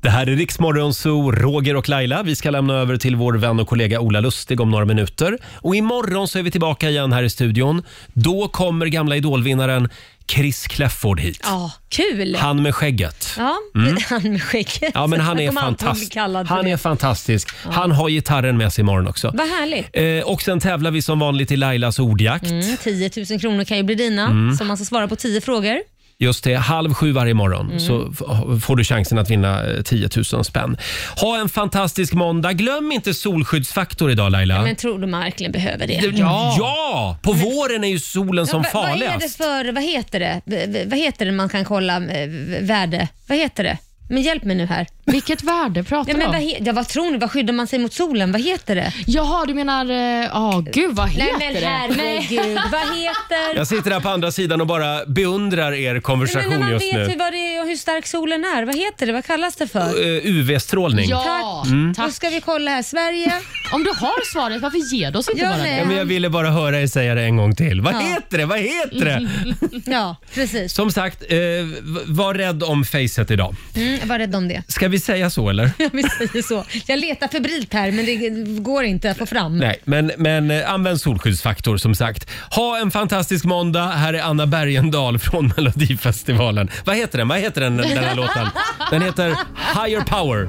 A: Det här är Riksmorgon Zoo, Roger och Laila. Vi ska lämna över till vår vän och kollega Ola Lustig om några minuter. Och imorgon så är vi tillbaka igen här i studion. Då kommer gamla idolvinnaren Chris Kläfford hit.
D: Ja, kul!
A: Han med skägget.
D: Ja,
A: Mm.
D: han med skägget.
A: Ja, men han är
D: kommer alltid bli
A: fantastisk.
D: kallad för
A: Han
D: det.
A: är fantastisk.
D: Ja.
A: Han har gitarren med sig imorgon också.
D: Vad härligt.
A: Eh, och sen tävlar vi som vanligt i Lailas ordjakt.
D: Mm, 10 000 kronor kan ju bli dina,
A: Mm.
D: som man ska svara på 10 frågor.
A: Just det, halv sju varje morgon
D: Mm.
A: så f- får du chansen att vinna eh, 10 000 spänn. Ha en fantastisk måndag. Glöm inte solskyddsfaktor idag Laila.
D: Men tror du man verkligen behöver det?
A: Det- ja, på våren är ju solen som
D: va- Vad är det
A: farligast.
D: för, vad heter det, V- v- vad heter det man kan kolla eh, v- värde? Vad heter det? Men hjälp mig nu här.
F: Vilket värde pratar
D: ja, men
F: du
D: vad,
F: om?
D: he- ja, vad tror ni? Vad skyddar man sig mot solen? Vad heter det?
F: Jaha, du menar... eh, Ja, gud vad
D: Nej,
F: heter
D: men
F: det?
D: herregud, vad heter...
A: Jag sitter här på andra sidan och bara beundrar er
D: Men när
A: konversation
D: man
A: just
D: vet hur,
A: nu.
D: vad det är och hur stark solen är, vad heter det? Vad kallas det för?
A: Eh, UV-strålning.
D: Tack.
A: Mm.
D: Då ska vi kolla här. Sverige.
F: Om du har svaret, varför ger du oss inte
D: ja,
F: bara
D: nej.
A: Ja, men jag ville bara höra er säga det en gång till. Vad
D: Ja. Mm.
A: heter det? Vad heter det?
D: Ja, precis.
A: Som sagt, eh, v- var rädd om facet idag.
D: Mm, var rädd om det.
A: Ska vi säga så eller?
D: Vi säger så. Jag letar febrilt här men det går inte att få fram.
A: Nej, men, men eh, använd solskyddsfaktor som sagt. Ha en fantastisk måndag. Här är Anna Bergendahl från Melodifestivalen. Vad heter den? Vad heter den, den här låten? Den heter Higher Power.